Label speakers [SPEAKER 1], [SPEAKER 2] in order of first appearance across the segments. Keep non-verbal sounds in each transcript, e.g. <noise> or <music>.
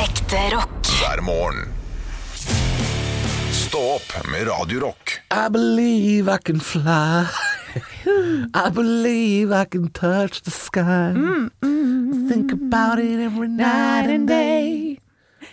[SPEAKER 1] Ekte rock.
[SPEAKER 2] hver morgen. Stå opp med Radio Rock.
[SPEAKER 3] I believe I can fly.
[SPEAKER 4] <laughs>
[SPEAKER 3] I believe I can touch the sky.
[SPEAKER 4] Mm,
[SPEAKER 3] Think about it every night and day.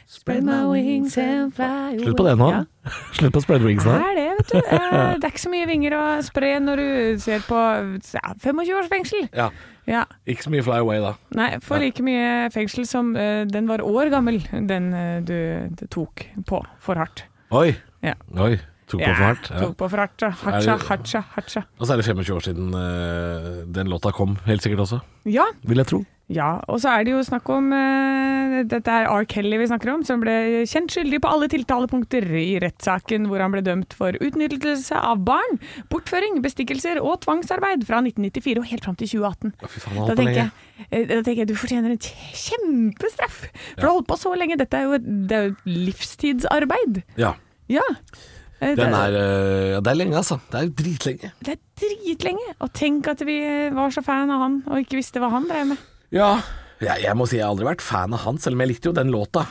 [SPEAKER 4] Spread my wings and fly away.
[SPEAKER 3] Slutt på det nå. Sånn.
[SPEAKER 4] Ja.
[SPEAKER 3] Slutt på spread wings
[SPEAKER 4] Det
[SPEAKER 3] nå.
[SPEAKER 4] er det, vet
[SPEAKER 3] <laughs>
[SPEAKER 4] du. Eh, Det er ikke så mye vinger å spre når du ser på ja, 25 års fengsel.
[SPEAKER 3] Ja.
[SPEAKER 4] Ja.
[SPEAKER 3] Ikke så mye fly away, da.
[SPEAKER 4] Nei, for like mye fengsel som eh, den var år gammel, den eh, du du tok på for hardt.
[SPEAKER 3] Oi.
[SPEAKER 4] Ja.
[SPEAKER 3] Oi. Tok på for hardt. Ja.
[SPEAKER 4] Tok på for hardt. ja. Hardsja, hardsja, hardsja.
[SPEAKER 3] Og så er det 25 år siden eh, den låta kom, helt sikkert også.
[SPEAKER 4] Ja,
[SPEAKER 3] Vil jeg tro.
[SPEAKER 4] Ja, og så er det jo snakk om eh, Dette er R. Kelly vi snakker om, som ble kjent skyldig på alle tiltalepunkter i rettssaken hvor han ble dømt for utnyttelse av barn, bortføring, bestikkelser og tvangsarbeid fra 1994 og helt fram til 2018.
[SPEAKER 3] Fy faen,
[SPEAKER 4] Da
[SPEAKER 3] holdt på
[SPEAKER 4] tenker,
[SPEAKER 3] lenge.
[SPEAKER 4] jeg, eh, da tenker jeg du fortjener en kjempestraff! For du har holdt på så lenge. Dette er jo et, det er jo et livstidsarbeid.
[SPEAKER 3] Ja.
[SPEAKER 4] Ja. Eh, det-
[SPEAKER 3] Den er, eh, ja, det er lenge, altså. Det er jo dritlenge.
[SPEAKER 4] Det er dritlenge. Og tenk at vi var så fan av han og ikke visste hva han drev med.
[SPEAKER 3] Ja. Jeg, jeg må si jeg har aldri vært fan av han, selv om jeg likte jo den låta.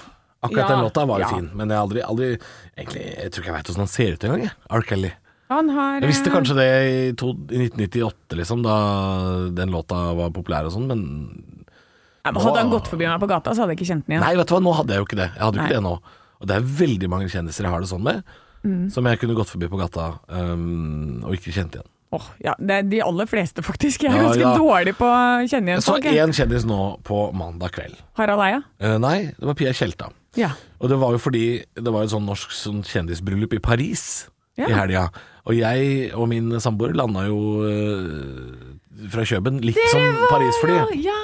[SPEAKER 3] Akkurat
[SPEAKER 4] Ja,
[SPEAKER 3] den låta var jo
[SPEAKER 4] ja.
[SPEAKER 3] fin, men jeg har aldri, aldri Egentlig, jeg tror ikke jeg veit åssen han ser ut engang, jeg. R. Kelly.
[SPEAKER 4] Han har
[SPEAKER 3] Jeg visste
[SPEAKER 4] eh,
[SPEAKER 3] kanskje det i, to, i 1998, liksom, da den låta var populær og sånn, men
[SPEAKER 4] Ja, men hadde han gått forbi meg på gata, så hadde jeg ikke kjent den igjen.
[SPEAKER 3] Nei, vet du hva, nå hadde jeg jo ikke det. Jeg hadde jo
[SPEAKER 4] Nei.
[SPEAKER 3] ikke det nå. Og det er veldig mange kjendiser jeg har det sånn med, som jeg kunne gått forbi på gata um, og ikke kjente igjen.
[SPEAKER 4] Åh, ja, det er de aller fleste, faktisk. Jeg er
[SPEAKER 3] Ja,
[SPEAKER 4] ganske
[SPEAKER 3] ja.
[SPEAKER 4] dårlig på å kjenne igjen
[SPEAKER 3] Jeg så
[SPEAKER 4] folk. jeg.
[SPEAKER 3] én kjendis nå på mandag kveld.
[SPEAKER 4] Harald Eia?
[SPEAKER 3] Eh, nei, det var Pia Tjelta.
[SPEAKER 4] Ja.
[SPEAKER 3] Og det var jo fordi det var et sånn norsk sånn kjendisbryllup i Paris
[SPEAKER 4] Ja.
[SPEAKER 3] i helga. Og jeg og min samboer landa jo eh, fra Kjøben litt som Paris-fly.
[SPEAKER 4] Å, Ja.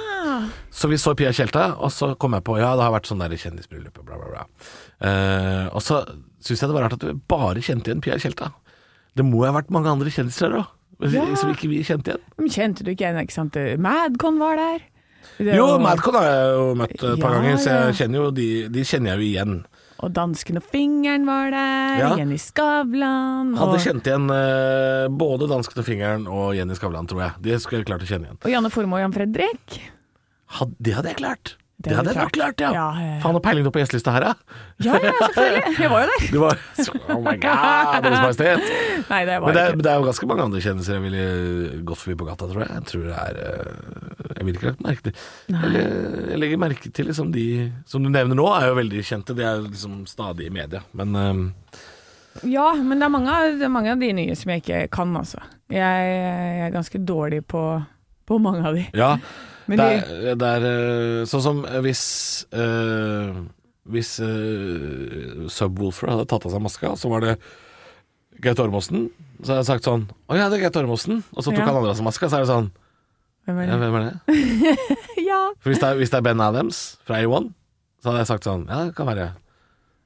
[SPEAKER 3] Så vi så Pia Tjelta, og så kom jeg på ja, det har vært sånn der kjendisbryllup, bla, bla, bla. Eh, og så syns jeg det var rart at vi bare kjente igjen Pia Tjelta. Det må jo ha vært mange andre kjendiser der òg,
[SPEAKER 4] Ja.
[SPEAKER 3] som ikke vi kjente igjen.
[SPEAKER 4] Men kjente du ikke igjen, ikke sant? Madcon var der. Det
[SPEAKER 3] Jo,
[SPEAKER 4] var-
[SPEAKER 3] Madcon har jeg jo møtt et par
[SPEAKER 4] Ja,
[SPEAKER 3] ganger, så jeg
[SPEAKER 4] ja.
[SPEAKER 3] kjenner jo de, de kjenner jeg jo igjen.
[SPEAKER 4] Og Dansken og Fingeren var der.
[SPEAKER 3] Ja.
[SPEAKER 4] Jenny Skavlan. Og,
[SPEAKER 3] Hadde kjent igjen eh, både Dansken og Fingeren og Jenny Skavlan, tror jeg. Det skulle jeg klart å kjenne igjen.
[SPEAKER 4] og Janne Formoe og Jan Fredrik.
[SPEAKER 3] Had, det hadde jeg klart. Det,
[SPEAKER 4] hadde
[SPEAKER 3] hadde jeg
[SPEAKER 4] du
[SPEAKER 3] nok klart, ja.
[SPEAKER 4] Ja, ja, ja.
[SPEAKER 3] Faen, har peiling du på gjestelista her, ja?
[SPEAKER 4] Ja, ja, selvfølgelig. Jeg var jo
[SPEAKER 3] <laughs>
[SPEAKER 4] der.
[SPEAKER 3] Du var Oh my god, Deres Majestet.
[SPEAKER 4] Nei, det var
[SPEAKER 3] Men det, er,
[SPEAKER 4] ikke.
[SPEAKER 3] men det er jo ganske mange andre kjendiser jeg ville gått forbi på gata, tror jeg. Jeg tror det er eh, Jeg ville ikke lagt merke til jeg, jeg legger merke til liksom de som du nevner nå, er jo veldig kjente. De er jo liksom stadig i media. Men eh,
[SPEAKER 4] Ja, men det er mange, av- det er mange av de nye som jeg ikke kan, altså. Jeg, jeg er ganske dårlig på, på mange av de.
[SPEAKER 3] ja.
[SPEAKER 4] Men
[SPEAKER 3] Det
[SPEAKER 4] de,
[SPEAKER 3] er, det er eh, sånn som hvis eh, Hvis eh, Subwoolfer hadde tatt av seg maska, så var det Gaute Ormåsen. Så hadde jeg sagt sånn Å ja, det er Gaute Ormåsen. Og så tok
[SPEAKER 4] Ja.
[SPEAKER 3] han andre av seg maska, så er det sånn
[SPEAKER 4] hvem er
[SPEAKER 3] Ja,
[SPEAKER 4] det?
[SPEAKER 3] hvem er det?
[SPEAKER 4] Ja.
[SPEAKER 3] For hvis det er, hvis det er Ben Adams fra A1, så hadde jeg sagt sånn Ja, det kan være en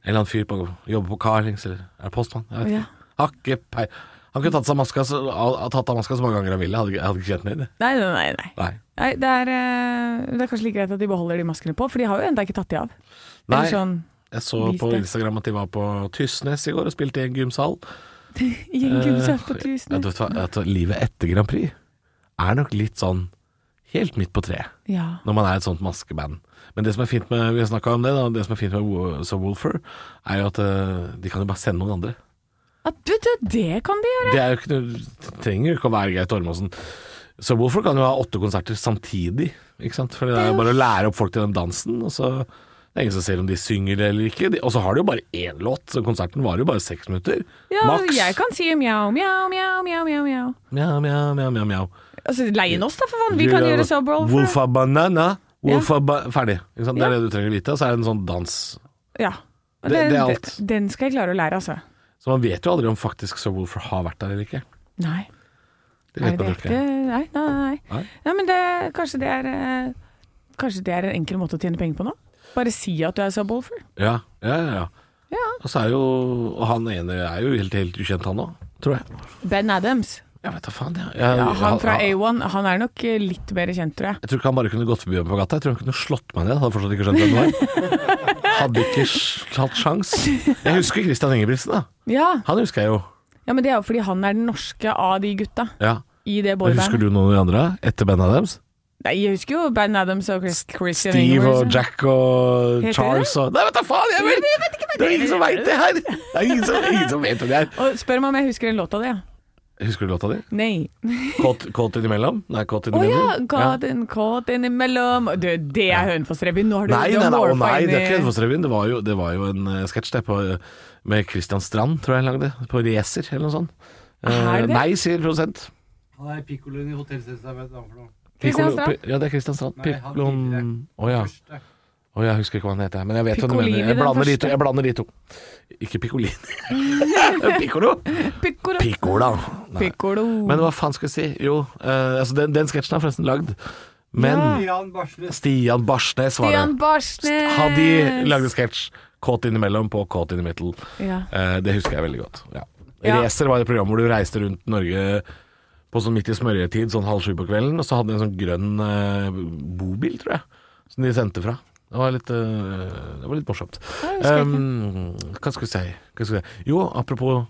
[SPEAKER 3] eller annen fyr på jobber på Carlings, eller er det postmann? Jeg vet
[SPEAKER 4] Ja.
[SPEAKER 3] ikke. Har ikke pei- Han kunne tatt, seg maska, så, ha- tatt av maska så mange ganger han ville. Jeg hadde, ikke- jeg hadde ikke kjent ham igjen. jeg.
[SPEAKER 4] Nei, nei, nei. nei.
[SPEAKER 3] Nei.
[SPEAKER 4] nei det, er, eh, det er kanskje like greit at de beholder de maskene på, for de har jo ennå ikke tatt de av.
[SPEAKER 3] Nei.
[SPEAKER 4] Eller sånn
[SPEAKER 3] Jeg så
[SPEAKER 4] Vis
[SPEAKER 3] på
[SPEAKER 4] det.
[SPEAKER 3] Instagram at de var på Tysnes i går og spilte i en gymsal.
[SPEAKER 4] gjengulser på
[SPEAKER 3] Eh, Ja,
[SPEAKER 4] tusen.
[SPEAKER 3] du vet hva, at livet etter Grand Prix er nok litt sånn helt midt på treet,
[SPEAKER 4] Ja.
[SPEAKER 3] når man er et sånt maskeband. Men det som er fint med vi har snakket om det, da, det som er fint med Wo- Subwoolfer, er jo at eh, de kan jo bare sende noen andre.
[SPEAKER 4] At, du, du, det kan de gjøre!
[SPEAKER 3] Det er jo ikke, noe- trenger jo ikke å være Geir Tormåsen. Subwoolfer kan jo ha åtte konserter samtidig, ikke sant? For det er jo bare å lære opp folk til den dansen, og så det er ingen som ser om de synger eller ikke. De- Og så har de jo bare én låt, så konserten varer jo bare seks minutter.
[SPEAKER 4] Ja,
[SPEAKER 3] Maks.
[SPEAKER 4] Jeg kan si mjau, mjau, mjau, mjau. mjau, mjau.
[SPEAKER 3] Mjau, mjau, mjau, mjau, mjau.
[SPEAKER 4] Altså, Leie oss, da, for faen! Vi kan gjøre Subroll. for-
[SPEAKER 3] Wolfa banana Wolfa
[SPEAKER 4] Ja.
[SPEAKER 3] ba Ferdig. Ikke sant? Det er
[SPEAKER 4] Ja.
[SPEAKER 3] det du trenger å vite. Og så er det en sånn dans.
[SPEAKER 4] Ja. Og
[SPEAKER 3] Det-
[SPEAKER 4] Den,
[SPEAKER 3] det er alt.
[SPEAKER 4] Den skal jeg klare å lære, altså.
[SPEAKER 3] Så man vet jo aldri om faktisk Subwoolfer har vært der eller ikke.
[SPEAKER 4] Nei.
[SPEAKER 3] Det
[SPEAKER 4] Er
[SPEAKER 3] vet
[SPEAKER 4] det
[SPEAKER 3] man jo
[SPEAKER 4] ekte?
[SPEAKER 3] ikke.
[SPEAKER 4] Nei, nei, nei. nei.
[SPEAKER 3] Nei.
[SPEAKER 4] nei men det, kanskje, det er, eh, kanskje det er en enkel måte å tjene penger på nå? Bare si at du er subwoolfer.
[SPEAKER 3] Ja, ja, ja. ja.
[SPEAKER 4] Ja.
[SPEAKER 3] Og så er jo Og han ene er jo helt, helt ukjent, han òg. Tror jeg.
[SPEAKER 4] Ben Adams.
[SPEAKER 3] Jeg vet da faen, jeg.
[SPEAKER 4] Ja, han fra
[SPEAKER 3] jeg,
[SPEAKER 4] A1 han er nok eh, litt mer kjent, tror jeg.
[SPEAKER 3] jeg tror ikke han bare kunne gått forbi meg på gata. Jeg tror han kunne slått meg ned. Hadde fortsatt ikke skjønt hvem det var.
[SPEAKER 4] <laughs>
[SPEAKER 3] Hadde ikke s- hatt sjans. Jeg husker Christian Ingebrigtsen, da.
[SPEAKER 4] Ja.
[SPEAKER 3] Han husker jeg jo.
[SPEAKER 4] ja, men det er jo fordi han er den norske av de gutta
[SPEAKER 3] Ja.
[SPEAKER 4] i det
[SPEAKER 3] Men Husker
[SPEAKER 4] boybandet.
[SPEAKER 3] du noen av de andre etter bandet deres?
[SPEAKER 4] Nei, jeg husker jo Ben Adams og Chris, Christian
[SPEAKER 3] Steve
[SPEAKER 4] Ingebrigtsen.
[SPEAKER 3] og Jack og
[SPEAKER 4] Heter
[SPEAKER 3] Charles og Nei, vet da faen! Jeg vet,
[SPEAKER 4] Jeg vet ikke hva
[SPEAKER 3] det er
[SPEAKER 4] det
[SPEAKER 3] ingen som veit det her! Det er ingen som, ingen som vet hvem det er.
[SPEAKER 4] Og spør meg om jeg husker en låt av det. ja.
[SPEAKER 3] Husker du låta di?
[SPEAKER 4] Nei.
[SPEAKER 3] Kåt, kåt innimellom? Nei, kåt
[SPEAKER 4] Å ja!
[SPEAKER 3] innimellom.
[SPEAKER 4] Caught in, caught innimellom. Du, det er Hønefoss-revyen. Nå har du
[SPEAKER 3] Nei,
[SPEAKER 4] du
[SPEAKER 3] nei,
[SPEAKER 4] har
[SPEAKER 3] nei, å
[SPEAKER 4] morfa
[SPEAKER 3] nei,
[SPEAKER 4] inn
[SPEAKER 3] det er
[SPEAKER 4] i-
[SPEAKER 3] ikke Hønefossrevyen. Det var jo, det var jo en eh, sketsj der på- med Christian Strand, tror jeg han lagde. På Racer eller noe sånt. Eh,
[SPEAKER 4] Er det det?
[SPEAKER 3] Nei, sier prosent.
[SPEAKER 1] Han er pikkoloen i Hotellselskapet, hva heter han for noe?
[SPEAKER 4] Christian
[SPEAKER 3] Piccolo-
[SPEAKER 4] Strand?
[SPEAKER 3] Pi- Ja, det er Christian Strand.
[SPEAKER 1] Nei, han
[SPEAKER 3] Piccolo
[SPEAKER 1] tidligere.
[SPEAKER 3] Å ja.
[SPEAKER 1] Første.
[SPEAKER 3] Å, jeg husker ikke hva han heter, men jeg vet hva du
[SPEAKER 4] Piccolini,
[SPEAKER 3] mener. Jeg
[SPEAKER 4] den
[SPEAKER 3] blander, de
[SPEAKER 4] første.
[SPEAKER 3] to, jeg blander de to. Ikke Piccolini.
[SPEAKER 4] <laughs>
[SPEAKER 3] Piccolo.
[SPEAKER 4] Piccolo.
[SPEAKER 3] Piccola. Nei.
[SPEAKER 4] Piccolo.
[SPEAKER 3] Men hva faen skal jeg si? Jo, eh, altså den, den sketsjen er forresten lagd, men
[SPEAKER 1] Jan Barsnes.
[SPEAKER 3] Stian Barsnes var det.
[SPEAKER 4] Stian Barsnes!
[SPEAKER 3] Hadde
[SPEAKER 4] Eh,
[SPEAKER 3] de lagd en sketsj, kåt innimellom på Kåt in the middle.
[SPEAKER 4] Ja.
[SPEAKER 3] Eh, det husker jeg veldig godt. Ja.
[SPEAKER 4] Ja.
[SPEAKER 3] Racer var et program hvor du reiste rundt Norge på sånn midt i smørjetid, sånn halv sju på kvelden, og så hadde de en sånn grønn eh, bobil, tror jeg, som de sendte fra. Det var litt, eh, det var litt morsomt.
[SPEAKER 4] husker jeg
[SPEAKER 3] Um, hva skal vi si? Hva skal vi si? Jo, apropos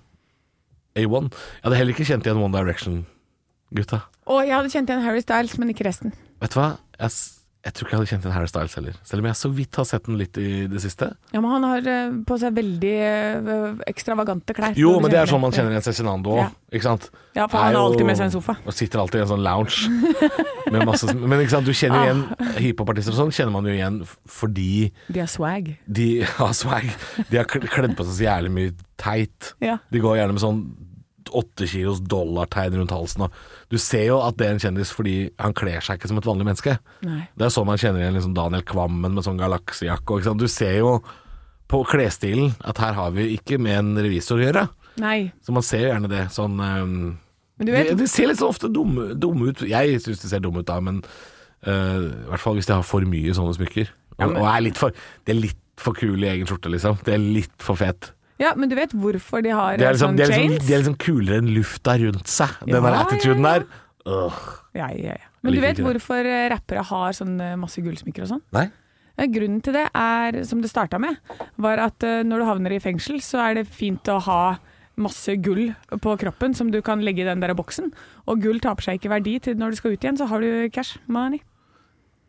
[SPEAKER 3] A1. Jeg hadde heller ikke kjent igjen One Direction-gutta.
[SPEAKER 4] Og jeg hadde kjent igjen Harry Styles, men ikke resten.
[SPEAKER 3] Vet du hva? Jeg, s- jeg tror ikke jeg hadde kjent igjen Harry Styles heller, selv om jeg så vidt har sett den litt i det siste.
[SPEAKER 4] Ja, Men han har eh, på seg veldig eh, ekstravagante klær.
[SPEAKER 3] Jo,
[SPEAKER 4] Når du
[SPEAKER 3] men det er
[SPEAKER 4] kjenner
[SPEAKER 3] sånn man kjenner igjen Cezinando
[SPEAKER 4] Ja.
[SPEAKER 3] òg, ikke sant?
[SPEAKER 4] Ja, for han
[SPEAKER 3] Er
[SPEAKER 4] har alltid
[SPEAKER 3] jo-
[SPEAKER 4] med seg en sofa.
[SPEAKER 3] Og sitter alltid i en sånn
[SPEAKER 4] <laughs>
[SPEAKER 3] lounge. Med masse, men ikke sant, du kjenner jo
[SPEAKER 4] Ah.
[SPEAKER 3] igjen hiphopartister og sånn, kjenner man jo igjen f- fordi
[SPEAKER 4] De har swag.
[SPEAKER 3] de <laughs> har swag. De har kl- kledd på seg så jævlig mye teit.
[SPEAKER 4] Ja.
[SPEAKER 3] De går gjerne med sånn åtte kilos dollartegn rundt halsen og Du ser jo at det er en kjendis fordi han kler seg ikke som et vanlig menneske.
[SPEAKER 4] Nei.
[SPEAKER 3] Det er sånn man kjenner igjen liksom Daniel Kvammen med sånn galaksejakke og ikke sant. Du ser jo på klesstilen at her har vi ikke med en revisor å gjøre.
[SPEAKER 4] Nei.
[SPEAKER 3] Så man ser jo gjerne det sånn ehm,
[SPEAKER 4] Men du
[SPEAKER 3] de,
[SPEAKER 4] vet
[SPEAKER 3] de ser litt så ofte dumme, dumme ut. Jeg syns de ser dumme ut da, men eh, i hvert fall hvis de har for mye sånne smykker. Og,
[SPEAKER 4] Ja, men-
[SPEAKER 3] og er litt for, de er litt for kule i egen skjorte, liksom. De er litt for fet.
[SPEAKER 4] Ja, men du vet hvorfor de har
[SPEAKER 3] De er, liksom,
[SPEAKER 4] sånn
[SPEAKER 3] de, er liksom,
[SPEAKER 4] chains?
[SPEAKER 3] de er liksom kulere enn lufta rundt seg,
[SPEAKER 4] Ja,
[SPEAKER 3] den der
[SPEAKER 4] ja,
[SPEAKER 3] attituden
[SPEAKER 4] ja.
[SPEAKER 3] der. Ugh.
[SPEAKER 4] Ja, ja, ja. Men du
[SPEAKER 3] Jeg liker
[SPEAKER 4] vet
[SPEAKER 3] ikke det.
[SPEAKER 4] hvorfor eh, rappere har sånn eh, masse gullsmykker og sånn?
[SPEAKER 3] Nei.
[SPEAKER 4] Ja, grunnen til det er, som det starta med, var at eh, når du havner i fengsel, så er det fint å ha masse gull på kroppen som du kan legge i den der boksen. Og gull taper seg ikke i verdi til når du skal ut igjen, så har du cash money.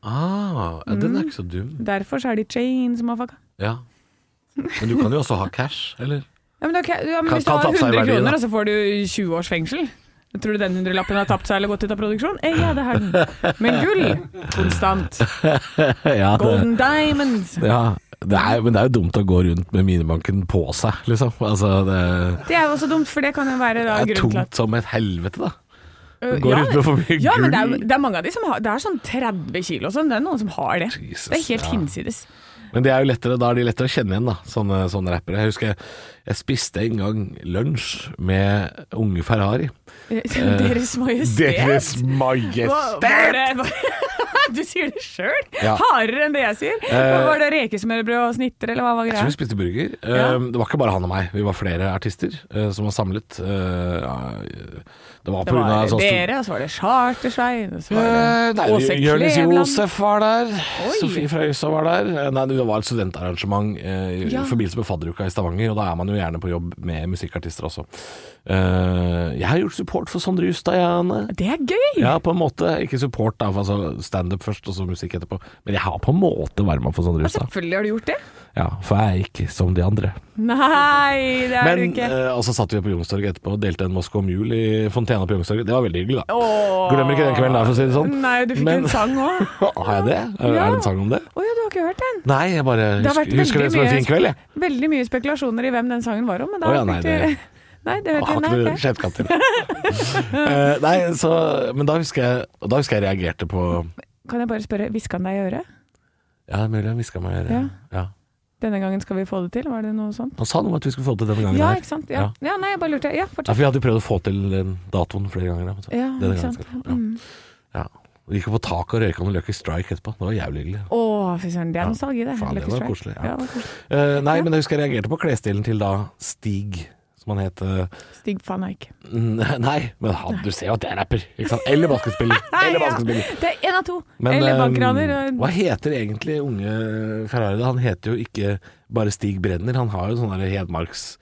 [SPEAKER 3] Ah, ja, Den er ikke så dum.
[SPEAKER 4] Derfor så er de chains, motherfucker.
[SPEAKER 3] Ja. Men du kan jo også ha cash, eller?
[SPEAKER 4] Ja, men, ok, ja, men
[SPEAKER 3] Kan-
[SPEAKER 4] hvis du
[SPEAKER 3] kan
[SPEAKER 4] har
[SPEAKER 3] tape seg
[SPEAKER 4] 100
[SPEAKER 3] i verdi, da.
[SPEAKER 4] kroner, og så får du 20 års fengsel. Tror du den hundrelappen har tapt seg eller gått ut av produksjon? Eh, ja, det har den. Men gull, konstant.
[SPEAKER 3] <laughs> <laughs> ja,
[SPEAKER 4] Golden diamonds.
[SPEAKER 3] ja. Det er, men det er jo dumt å gå rundt med minibanken på seg, liksom. Altså, det,
[SPEAKER 4] Det er jo også dumt, for det kan jo være da,
[SPEAKER 3] det er
[SPEAKER 4] grunnen til at
[SPEAKER 3] tungt som et helvete, da.
[SPEAKER 4] Øh,
[SPEAKER 3] Går rundt med for mye
[SPEAKER 4] Ja, men det er,
[SPEAKER 3] gull.
[SPEAKER 4] det er mange av de som har Det er sånn 30 kilo og sånn. Det er noen som har det.
[SPEAKER 3] Jesus,
[SPEAKER 4] det er helt
[SPEAKER 3] ja.
[SPEAKER 4] hinsides. <laughs>
[SPEAKER 3] Men det er jo lettere, da er de lettere å kjenne igjen, da, sånne, sånne rappere. Jeg husker jeg, jeg spiste en gang lunsj med unge Ferrari.
[SPEAKER 4] Eh, Deres Majestet. Hva- var
[SPEAKER 3] Majestet!
[SPEAKER 4] det- var- <laughs> du sier det sjøl!
[SPEAKER 3] Ja.
[SPEAKER 4] Hardere enn det jeg sier.
[SPEAKER 3] Eh,
[SPEAKER 4] var det rekesmørbrød og snitter, eller hva var
[SPEAKER 3] Jeg tror vi
[SPEAKER 4] greia?
[SPEAKER 3] spiste burger.
[SPEAKER 4] Ja.
[SPEAKER 3] Eh, Det var ikke bare han og meg, vi var flere artister eh, som var samlet. Eh, ja, Det var
[SPEAKER 4] Det
[SPEAKER 3] på grunn av
[SPEAKER 4] var
[SPEAKER 3] sånn stor-
[SPEAKER 4] dere, og så var det Chartersvein, og så
[SPEAKER 3] Eh,
[SPEAKER 4] var det
[SPEAKER 3] Nei,
[SPEAKER 4] Åse
[SPEAKER 3] Jonis
[SPEAKER 4] Kleveland.
[SPEAKER 3] Josef var der.
[SPEAKER 4] Oi.
[SPEAKER 3] Sofie fra Øysa var der. Eh, Nei, det var et studentarrangement eh, i
[SPEAKER 4] Ja.
[SPEAKER 3] forbindelse med fadderuka i Stavanger, og da er man jo gjerne på jobb med musikkartister også. Eh, jeg har gjort support for Sondre Justad, jeg, Anne.
[SPEAKER 4] Det er gøy!
[SPEAKER 3] Ja, på en måte. Ikke support, da, for altså standup først, og så musikk etterpå. Men jeg har på en måte varma for Sondre
[SPEAKER 4] Ja,
[SPEAKER 3] Justad.
[SPEAKER 4] selvfølgelig har du gjort det.
[SPEAKER 3] Ja, for jeg er ikke som de andre.
[SPEAKER 4] Nei, det er
[SPEAKER 3] Men,
[SPEAKER 4] du ikke.
[SPEAKER 3] eh, og så satt vi på Youngstorget etterpå og delte en Moscow Mule i fontena på Youngstorget. Det var veldig hyggelig, da.
[SPEAKER 4] Åh.
[SPEAKER 3] Glemmer ikke den kvelden der, for å si det sånn.
[SPEAKER 4] Nei, du fikk
[SPEAKER 3] Men-
[SPEAKER 4] en sang òg.
[SPEAKER 3] Har jeg det? Er,
[SPEAKER 4] Ja.
[SPEAKER 3] er det en sang om det?
[SPEAKER 4] Å ja, du har ikke hørt den?
[SPEAKER 3] Nei, jeg bare
[SPEAKER 4] Det har
[SPEAKER 3] husker,
[SPEAKER 4] vært
[SPEAKER 3] husker det
[SPEAKER 4] veldig
[SPEAKER 3] som en
[SPEAKER 4] mye
[SPEAKER 3] fin kveld, jeg.
[SPEAKER 4] Veldig mye spekulasjoner i hvem den sangen var om, men da
[SPEAKER 3] Å ja, nei,
[SPEAKER 4] fikk
[SPEAKER 3] det-
[SPEAKER 4] du <laughs> Nei, det hørte jeg
[SPEAKER 3] Har
[SPEAKER 4] nei,
[SPEAKER 3] ikke du
[SPEAKER 4] ok.
[SPEAKER 3] kjennskap til det? <laughs> Eh, nei, så, men da husker, jeg, og da husker jeg reagerte på
[SPEAKER 4] Kan jeg bare spørre, hviska han deg i øret?
[SPEAKER 3] Ja, det er mulig han hviska meg i øret.
[SPEAKER 4] Ja.
[SPEAKER 3] Ja.
[SPEAKER 4] Denne gangen skal vi få det til, var det noe sånt?
[SPEAKER 3] Han sa noe om at vi skulle få det til denne gangen
[SPEAKER 4] Ja,
[SPEAKER 3] her.
[SPEAKER 4] ikke sant? Ja, ja nei, jeg bare lurte. Ja,
[SPEAKER 3] Ja,
[SPEAKER 4] fortsett.
[SPEAKER 3] for vi hadde jo prøvd å få til den datoen flere ganger. da, men så-
[SPEAKER 4] Ja,
[SPEAKER 3] denne
[SPEAKER 4] ikke
[SPEAKER 3] gangen
[SPEAKER 4] sant. Mm.
[SPEAKER 3] skal- Ja. Ja. Vi gikk jo på taket og røyka noen Lucky Strike etterpå. Det var jævlig hyggelig.
[SPEAKER 4] Å, fy søren, det er nostalgi, det.
[SPEAKER 3] faen, det
[SPEAKER 4] Lucky
[SPEAKER 3] var
[SPEAKER 4] Strike.
[SPEAKER 3] koselig, ja.
[SPEAKER 4] det var koselig.
[SPEAKER 3] Eh, nei, men jeg husker jeg reagerte på klesstilen til da Stig, som han het. eh,
[SPEAKER 4] Stig van Eyck.
[SPEAKER 3] n- <laughs> Nei, men han, du ser jo at det er rapper. Ikke sant?
[SPEAKER 4] <laughs>
[SPEAKER 3] Eller basketspiller. Eller
[SPEAKER 4] Ja,
[SPEAKER 3] basketspiller.
[SPEAKER 4] Det er én av to!
[SPEAKER 3] Men,
[SPEAKER 4] Eller
[SPEAKER 3] ehm,
[SPEAKER 4] bankraner.
[SPEAKER 3] Hva heter egentlig unge Ferrari? da? Han heter jo ikke bare Stig Brenner, han har jo sånn der Hedmarks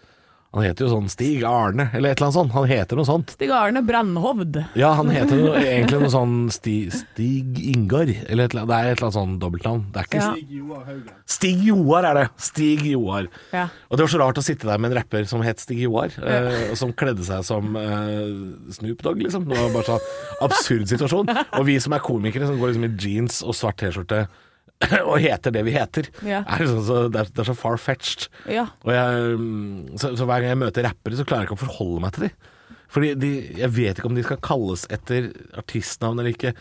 [SPEAKER 3] Han heter jo sånn Stig Arne, eller et eller annet sånt. Han heter noe sånt.
[SPEAKER 4] Stig Arne Brandhovd.
[SPEAKER 3] Ja, han heter noe, egentlig noe sånn Sti, Stig Ingar, eller et eller annet. Det er et eller annet sånn dobbeltnavn. Det er ikke
[SPEAKER 4] Ja.
[SPEAKER 1] Stig Joar Haugen.
[SPEAKER 3] Stig Joar er det. Stig Joar.
[SPEAKER 4] Ja.
[SPEAKER 3] Og det var så rart å sitte der med en rapper som het Stig Joar, eh, og som kledde seg som eh, Snoop Dogg, liksom. Det var bare sånn absurd situasjon. Og vi som er komikere, som går liksom i jeans og svart T-skjorte og heter det vi heter,
[SPEAKER 4] Ja.
[SPEAKER 3] er liksom så, det, er, det er så far-fetched.
[SPEAKER 4] Ja.
[SPEAKER 3] Og jeg, mm, så, så hver gang jeg møter rappere, så klarer jeg ikke å forholde meg til dem. Fordi de, jeg vet ikke om de skal kalles etter artistnavn eller ikke.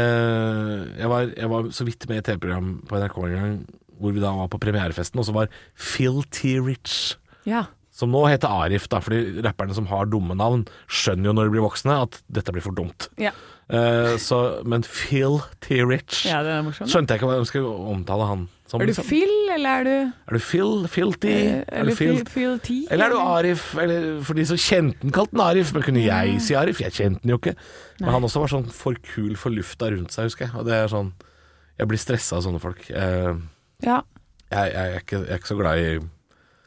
[SPEAKER 3] Eh, jeg, var, jeg var så vidt med i et TV-program på NRK en gang hvor vi da var på premierefesten, og så var Phil T. Rich,
[SPEAKER 4] ja.
[SPEAKER 3] som nå heter Arif, da, fordi rapperne som har dumme navn, skjønner jo når de blir voksne at dette blir for dumt.
[SPEAKER 4] Ja,
[SPEAKER 3] Eh, så, men Phil T. Rich
[SPEAKER 4] ja det er morsomt.
[SPEAKER 3] skjønte jeg ikke hva de skulle omtale han som.
[SPEAKER 4] Er du
[SPEAKER 3] liksom.
[SPEAKER 4] Phil, eller er du eh,
[SPEAKER 3] er du Phil? Filty?
[SPEAKER 4] Er du Phil, Phil T?
[SPEAKER 3] Eller er du Arif? Eller for de som kjente den, kalte den Arif. Men kunne jeg si Arif? Jeg kjente den jo ikke. Men han også var sånn for kul for lufta rundt seg, husker jeg. Og det er sånn Jeg blir stressa av sånne folk. Eh,
[SPEAKER 4] Ja.
[SPEAKER 3] Jeg, jeg, er ikke, jeg er ikke så glad i
[SPEAKER 4] Nei,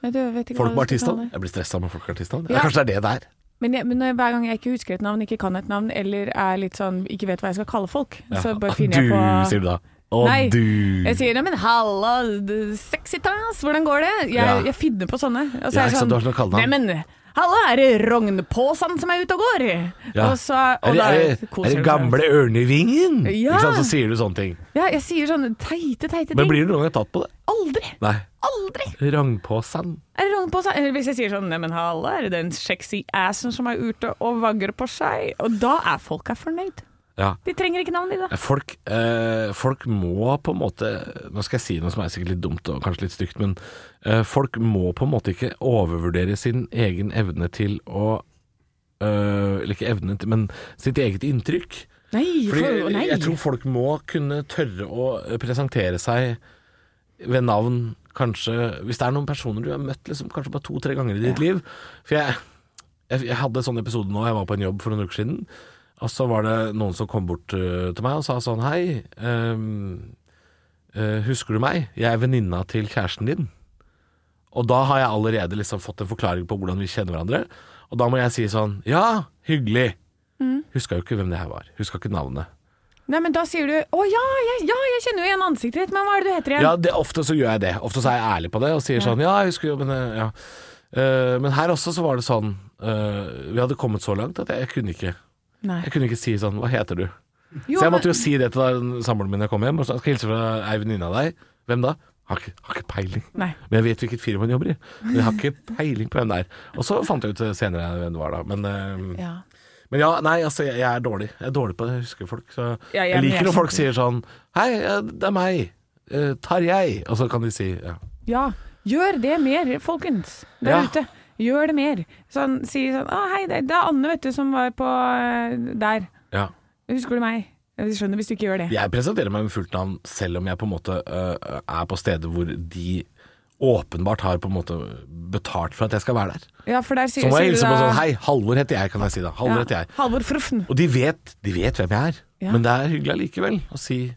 [SPEAKER 4] du vet ikke
[SPEAKER 3] folk
[SPEAKER 4] hva
[SPEAKER 3] med
[SPEAKER 4] du skal kalle
[SPEAKER 3] artistnavn.
[SPEAKER 4] det.
[SPEAKER 3] Jeg blir stressa med folk med artistnavn.
[SPEAKER 4] Ja.
[SPEAKER 3] Ja. Kanskje det er det det er.
[SPEAKER 4] Men, jeg, men når jeg, hver gang jeg ikke husker et navn, ikke kan et navn, eller er litt sånn ikke vet hva jeg skal kalle folk, så
[SPEAKER 3] Ja. <laughs>
[SPEAKER 4] bare finner jeg på
[SPEAKER 3] Du, sier du da. Å,
[SPEAKER 4] Nei,
[SPEAKER 3] du.
[SPEAKER 4] Jeg sier 'neimen halla, du, sexy tass, hvordan går det?' Jeg,
[SPEAKER 3] Ja.
[SPEAKER 4] jeg finner på sånne. Og
[SPEAKER 3] Ja,
[SPEAKER 4] er jeg sånn,
[SPEAKER 3] ikke sant, du har sånne kallenavn.
[SPEAKER 4] Neimen, halla, er det Rognpåsan som er ute og går?
[SPEAKER 3] Ja.
[SPEAKER 4] Og så, og
[SPEAKER 3] er, det,
[SPEAKER 4] da
[SPEAKER 3] er, det,
[SPEAKER 4] koser
[SPEAKER 3] er
[SPEAKER 4] jeg
[SPEAKER 3] det
[SPEAKER 4] meg.
[SPEAKER 3] gamle ørnevingen?
[SPEAKER 4] Ja.
[SPEAKER 3] Ikke sant, så sier du sånne ting.
[SPEAKER 4] Ja, jeg sier sånne teite, teite ting.
[SPEAKER 3] Men blir du noen gang tatt på det?
[SPEAKER 4] Aldri!
[SPEAKER 3] Nei.
[SPEAKER 4] Aldri!
[SPEAKER 3] Rangpåsen.
[SPEAKER 4] Er det rognpåsen? Eller hvis jeg sier sånn Neimen, halla, er det den sexy assen som er ute og vagger på seg? Og da er folka fornøyd.
[SPEAKER 3] Ja.
[SPEAKER 4] De trenger ikke navn, de, da.
[SPEAKER 3] Folk, eh, folk må på en måte Nå skal jeg si noe som er sikkert litt dumt og kanskje litt stygt, men eh, folk må på en måte ikke overvurdere sin egen evne til å eh, Eller ikke evne til, men sitt eget inntrykk.
[SPEAKER 4] Nei, for,
[SPEAKER 3] Fordi
[SPEAKER 4] nei.
[SPEAKER 3] jeg tror folk må kunne tørre å presentere seg ved navn, kanskje Hvis det er noen personer du har møtt liksom, kanskje bare to-tre ganger i ditt liv. For jeg, jeg, jeg hadde en sånn episode nå, jeg var på en jobb for noen uker siden. Og så var det noen som kom bort eh, til meg og sa sånn Hei, ehm, eh, husker du meg? Jeg er venninna til kjæresten din. Og da har jeg allerede liksom fått en forklaring på hvordan vi kjenner hverandre. Og da må jeg si sånn Ja, hyggelig. Huska jo ikke hvem det her var. Huska ikke navnet.
[SPEAKER 4] nei, men da sier du 'Å ja, jeg, ja, jeg kjenner jo igjen ansiktet ditt, men hva er det du heter igjen?'
[SPEAKER 3] Ja, det, ofte så gjør jeg det. Ofte så er jeg ærlig på det og sier sånn Ja, jeg husker jo, men eh, ja. Eh, men her også så var det sånn eh, Vi hadde kommet så langt at jeg, jeg kunne ikke
[SPEAKER 4] Nei.
[SPEAKER 3] Jeg kunne ikke si sånn Hva heter du?
[SPEAKER 4] Jo,
[SPEAKER 3] så jeg måtte
[SPEAKER 4] men-
[SPEAKER 3] jo si det til da- samboeren min da jeg kom hjem. Og så skal jeg hilse fra ei venninne av deg. Hvem da? Har ikke, har ikke peiling.
[SPEAKER 4] Nei.
[SPEAKER 3] Men jeg vet hvilket firma hun jobber i. Men jeg har
[SPEAKER 4] <laughs>
[SPEAKER 3] ikke peiling på hvem det er. Og så fant jeg ut eh, senere hvem det var, da. Men, eh,
[SPEAKER 4] Ja.
[SPEAKER 3] men ja, nei, altså, jeg, jeg er dårlig. Jeg er dårlig på det, jeg husker folk. Så
[SPEAKER 4] Ja, jeg-
[SPEAKER 3] jeg
[SPEAKER 4] jeg
[SPEAKER 3] liker når folk
[SPEAKER 4] skjønner.
[SPEAKER 3] sier sånn Hei, ja, det er meg. Eh, Tarjei. Og så kan de si ja.
[SPEAKER 4] ja. Gjør det mer, folkens, der
[SPEAKER 3] Ja.
[SPEAKER 4] ute. Gjør det mer. Sånn, si sånn 'Å hei, det, det er Anne, vet du, som var på eh, der.
[SPEAKER 3] ja.
[SPEAKER 4] Husker du meg?' Jeg skjønner hvis du ikke gjør det.
[SPEAKER 3] Jeg presenterer meg med fullt navn, selv om jeg på en måte eh, er på steder hvor de åpenbart har på en måte betalt for at jeg skal være der.
[SPEAKER 4] Ja, for der sier,
[SPEAKER 3] Så må jeg
[SPEAKER 4] sier du
[SPEAKER 3] hilse på
[SPEAKER 4] da-
[SPEAKER 3] sånn Hei, Halvor heter jeg, kan jeg si da. Halvor heter jeg.
[SPEAKER 4] Halvor Frufn.
[SPEAKER 3] Og de vet, de vet hvem jeg er.
[SPEAKER 4] Ja.
[SPEAKER 3] Men det er hyggelig allikevel å si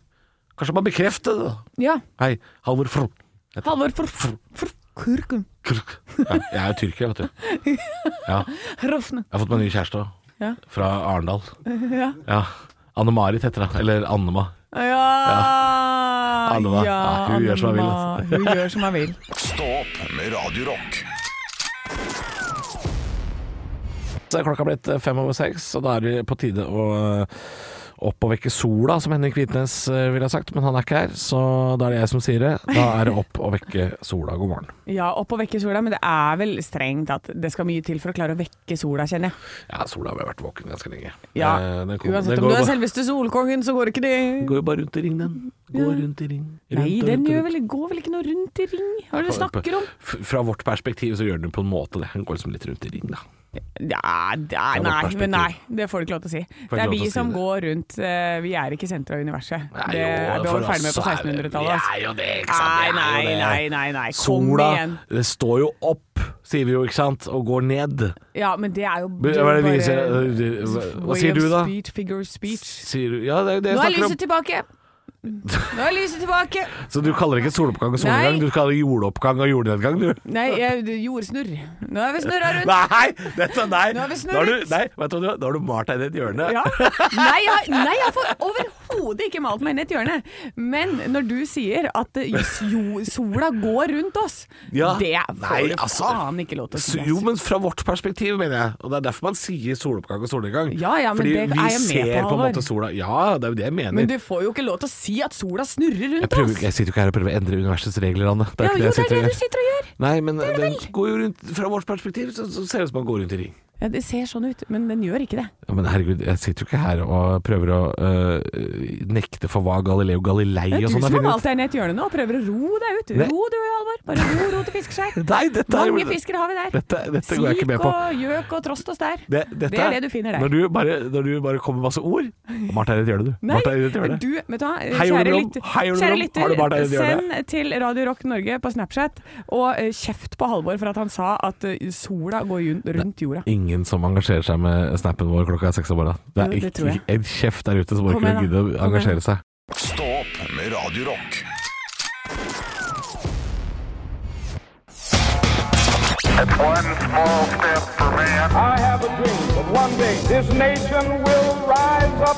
[SPEAKER 3] Kanskje bare bekrefte det, da.
[SPEAKER 4] Ja.
[SPEAKER 3] Hei, Halvor Fro.
[SPEAKER 4] Halvor Frufn. Kurkum.
[SPEAKER 3] Krk. Ja, jeg er jo tyrker, vet du.
[SPEAKER 4] <laughs>
[SPEAKER 3] Ja, jeg
[SPEAKER 4] Hrofn.
[SPEAKER 3] har fått meg ny kjæreste òg.
[SPEAKER 4] Ja.
[SPEAKER 3] Fra Arendal.
[SPEAKER 4] <laughs> Ja.
[SPEAKER 3] Ja. Anne-Marit heter hun. Eller Annema.
[SPEAKER 4] Ja, ja.
[SPEAKER 3] Annema. Ja, hun gjør som hun vil,
[SPEAKER 4] Annema.
[SPEAKER 3] altså.
[SPEAKER 4] Hun gjør som hun vil.
[SPEAKER 2] Stå opp med Radio Rock.
[SPEAKER 3] Så er klokka blitt eh, fem over seks, og da er det på tide å eh, opp og vekke sola, som Henrik Hvitnes eh, ville ha sagt, men han er ikke her, så da er det jeg som sier det. Da er det opp og vekke sola. God morgen.
[SPEAKER 4] Ja, opp og vekke sola, men det er vel strengt at det skal mye til for å klare å vekke sola, kjenner jeg.
[SPEAKER 3] Ja, sola har vært våken ganske lenge.
[SPEAKER 4] Ja,
[SPEAKER 3] Eh, den kom-
[SPEAKER 4] Uansett
[SPEAKER 3] den
[SPEAKER 4] om
[SPEAKER 3] går
[SPEAKER 4] du er
[SPEAKER 3] bare-
[SPEAKER 4] selveste solkongen, så går ikke det
[SPEAKER 3] går jo bare rundt i ring, den. Går rundt i ring. Rundt
[SPEAKER 4] Nei,
[SPEAKER 3] og
[SPEAKER 4] den
[SPEAKER 3] rundt og
[SPEAKER 4] gjør
[SPEAKER 3] rundt.
[SPEAKER 4] vel, går vel ikke noe rundt i ring? Hva er det du snakker om?
[SPEAKER 3] F- Fra vårt perspektiv så gjør den på en måte det. Den går liksom litt rundt i ring, da.
[SPEAKER 4] Ja, det er,
[SPEAKER 3] vårt
[SPEAKER 4] nei, men
[SPEAKER 3] perspektiv.
[SPEAKER 4] nei, det får du ikke lov til å si. Det er
[SPEAKER 3] ikke lov til
[SPEAKER 4] vi
[SPEAKER 3] å si
[SPEAKER 4] som
[SPEAKER 3] det.
[SPEAKER 4] går rundt eh, Vi er ikke senteret av universet.
[SPEAKER 3] Nei,
[SPEAKER 4] Det
[SPEAKER 3] jo,
[SPEAKER 4] det var
[SPEAKER 3] for
[SPEAKER 4] vi ferdig med
[SPEAKER 3] oss
[SPEAKER 4] på
[SPEAKER 3] er det-
[SPEAKER 4] 1600-tallet.
[SPEAKER 3] Vi er
[SPEAKER 4] altså.
[SPEAKER 3] jo det, ikke sant.
[SPEAKER 4] Nei, nei,
[SPEAKER 3] Vi er jo det.
[SPEAKER 4] nei, nei, nei, kom igjen.
[SPEAKER 3] Sola det står jo opp, sier vi jo, ikke sant, og går ned.
[SPEAKER 4] Ja, men det er jo
[SPEAKER 3] Hva er det vi
[SPEAKER 4] bare-
[SPEAKER 3] sier? Hva
[SPEAKER 4] way
[SPEAKER 3] sier
[SPEAKER 4] of
[SPEAKER 3] du da?
[SPEAKER 4] Speech, figure of speech.
[SPEAKER 3] Sier du Ja, det er jo det
[SPEAKER 4] Nå er
[SPEAKER 3] jeg snakker om.
[SPEAKER 4] lyset tilbake! Nå er lyset tilbake!
[SPEAKER 3] Så du kaller det ikke soloppgang og
[SPEAKER 4] Nei.
[SPEAKER 3] solnedgang, du kaller det jordoppgang og jordnedgang, du. <laughs>
[SPEAKER 4] Nei, jeg, det- jordsnurr. Nå er vi snurra rundt.
[SPEAKER 3] Nei! Dette, nei.
[SPEAKER 4] Nå har vi snurret.
[SPEAKER 3] Da har du, nei, vet du, hva, da har du malt deg inn i et hjørne.
[SPEAKER 4] Ja. Nei, jeg, har- nei, jeg får overhodet ikke malt meg inn i et hjørne. Men når du sier at eh, jo, sola går rundt oss,
[SPEAKER 3] Ja.
[SPEAKER 4] det får
[SPEAKER 3] Nei,
[SPEAKER 4] du
[SPEAKER 3] altså.
[SPEAKER 4] faen ikke lov til å si.
[SPEAKER 3] Så- Jo,
[SPEAKER 4] ass.
[SPEAKER 3] men fra vårt perspektiv, mener jeg. Og Det er derfor man sier soloppgang og solnedgang.
[SPEAKER 4] Ja, ja, men
[SPEAKER 3] Fordi
[SPEAKER 4] det er jeg med
[SPEAKER 3] vi
[SPEAKER 4] på,
[SPEAKER 3] ser på en
[SPEAKER 4] Halvor.
[SPEAKER 3] måte sola Ja, det er jo det jeg mener.
[SPEAKER 4] Men du får jo ikke lov til å si at sola snurrer
[SPEAKER 3] jeg,
[SPEAKER 4] rundt
[SPEAKER 3] prøver,
[SPEAKER 4] oss.
[SPEAKER 3] ikke- jeg sitter jo ikke her og prøver å endre universets regler, Anne. Det er
[SPEAKER 4] Ja, jo,
[SPEAKER 3] ikke
[SPEAKER 4] det
[SPEAKER 3] det jeg
[SPEAKER 4] er det
[SPEAKER 3] sitter og
[SPEAKER 4] du
[SPEAKER 3] gjør.
[SPEAKER 4] sitter og gjør.
[SPEAKER 3] Nei, men den går jo rundt Fra vårt perspektiv så, så ser det ut som man går rundt i ring.
[SPEAKER 4] Ja, det ser sånn ut, men den gjør ikke det.
[SPEAKER 3] Ja, men herregud, jeg sitter jo ikke her og prøver å øh, nekte for hva Galileo Galilei
[SPEAKER 4] Det er
[SPEAKER 3] og
[SPEAKER 4] du
[SPEAKER 3] sånn
[SPEAKER 4] som
[SPEAKER 3] har
[SPEAKER 4] har
[SPEAKER 3] funnet
[SPEAKER 4] malt deg ned i et hjørne nå og prøver å ro deg ut.
[SPEAKER 3] Nei.
[SPEAKER 4] Ro du, Halvor. Bare ro, ro til fiskeskjær.
[SPEAKER 3] Nei, dette, er-
[SPEAKER 4] Mange fiskere har vi der.
[SPEAKER 3] dette, dette går jeg ikke med på.
[SPEAKER 4] Sik og gjøk og trost og stær.
[SPEAKER 3] Det, dette,
[SPEAKER 4] Det er det du finner der.
[SPEAKER 3] Når du bare, når du bare kommer med masse ord Marte er i et hjørne, du.
[SPEAKER 4] Nei,
[SPEAKER 3] Marte er i et hjørne.
[SPEAKER 4] du, vet du hva,
[SPEAKER 3] Hei, Ole
[SPEAKER 4] kjære,
[SPEAKER 3] Brumm.
[SPEAKER 4] lytter-
[SPEAKER 3] Hei, Ole
[SPEAKER 4] kjære
[SPEAKER 3] Brumm. Har du bare
[SPEAKER 4] lytter,
[SPEAKER 3] det du gjør
[SPEAKER 4] send til Radio Rock Norge på Snapchat og eh, kjeft på Halvor for at han sa at eh, sola går jun- rundt jorda.
[SPEAKER 3] Ingen som engasjerer seg med snappen vår klokka seks om morgenen. Det er
[SPEAKER 4] Jo, det tror
[SPEAKER 3] ikke
[SPEAKER 4] jeg.
[SPEAKER 3] ikke en kjeft der ute som
[SPEAKER 4] Kom
[SPEAKER 3] orker å
[SPEAKER 4] igjen, da.
[SPEAKER 3] gidde å
[SPEAKER 4] Kom igjen.
[SPEAKER 3] engasjere seg.
[SPEAKER 2] Stå opp med Radio Rock.
[SPEAKER 5] One small step for man. I have a dream that one day this nation will rise up.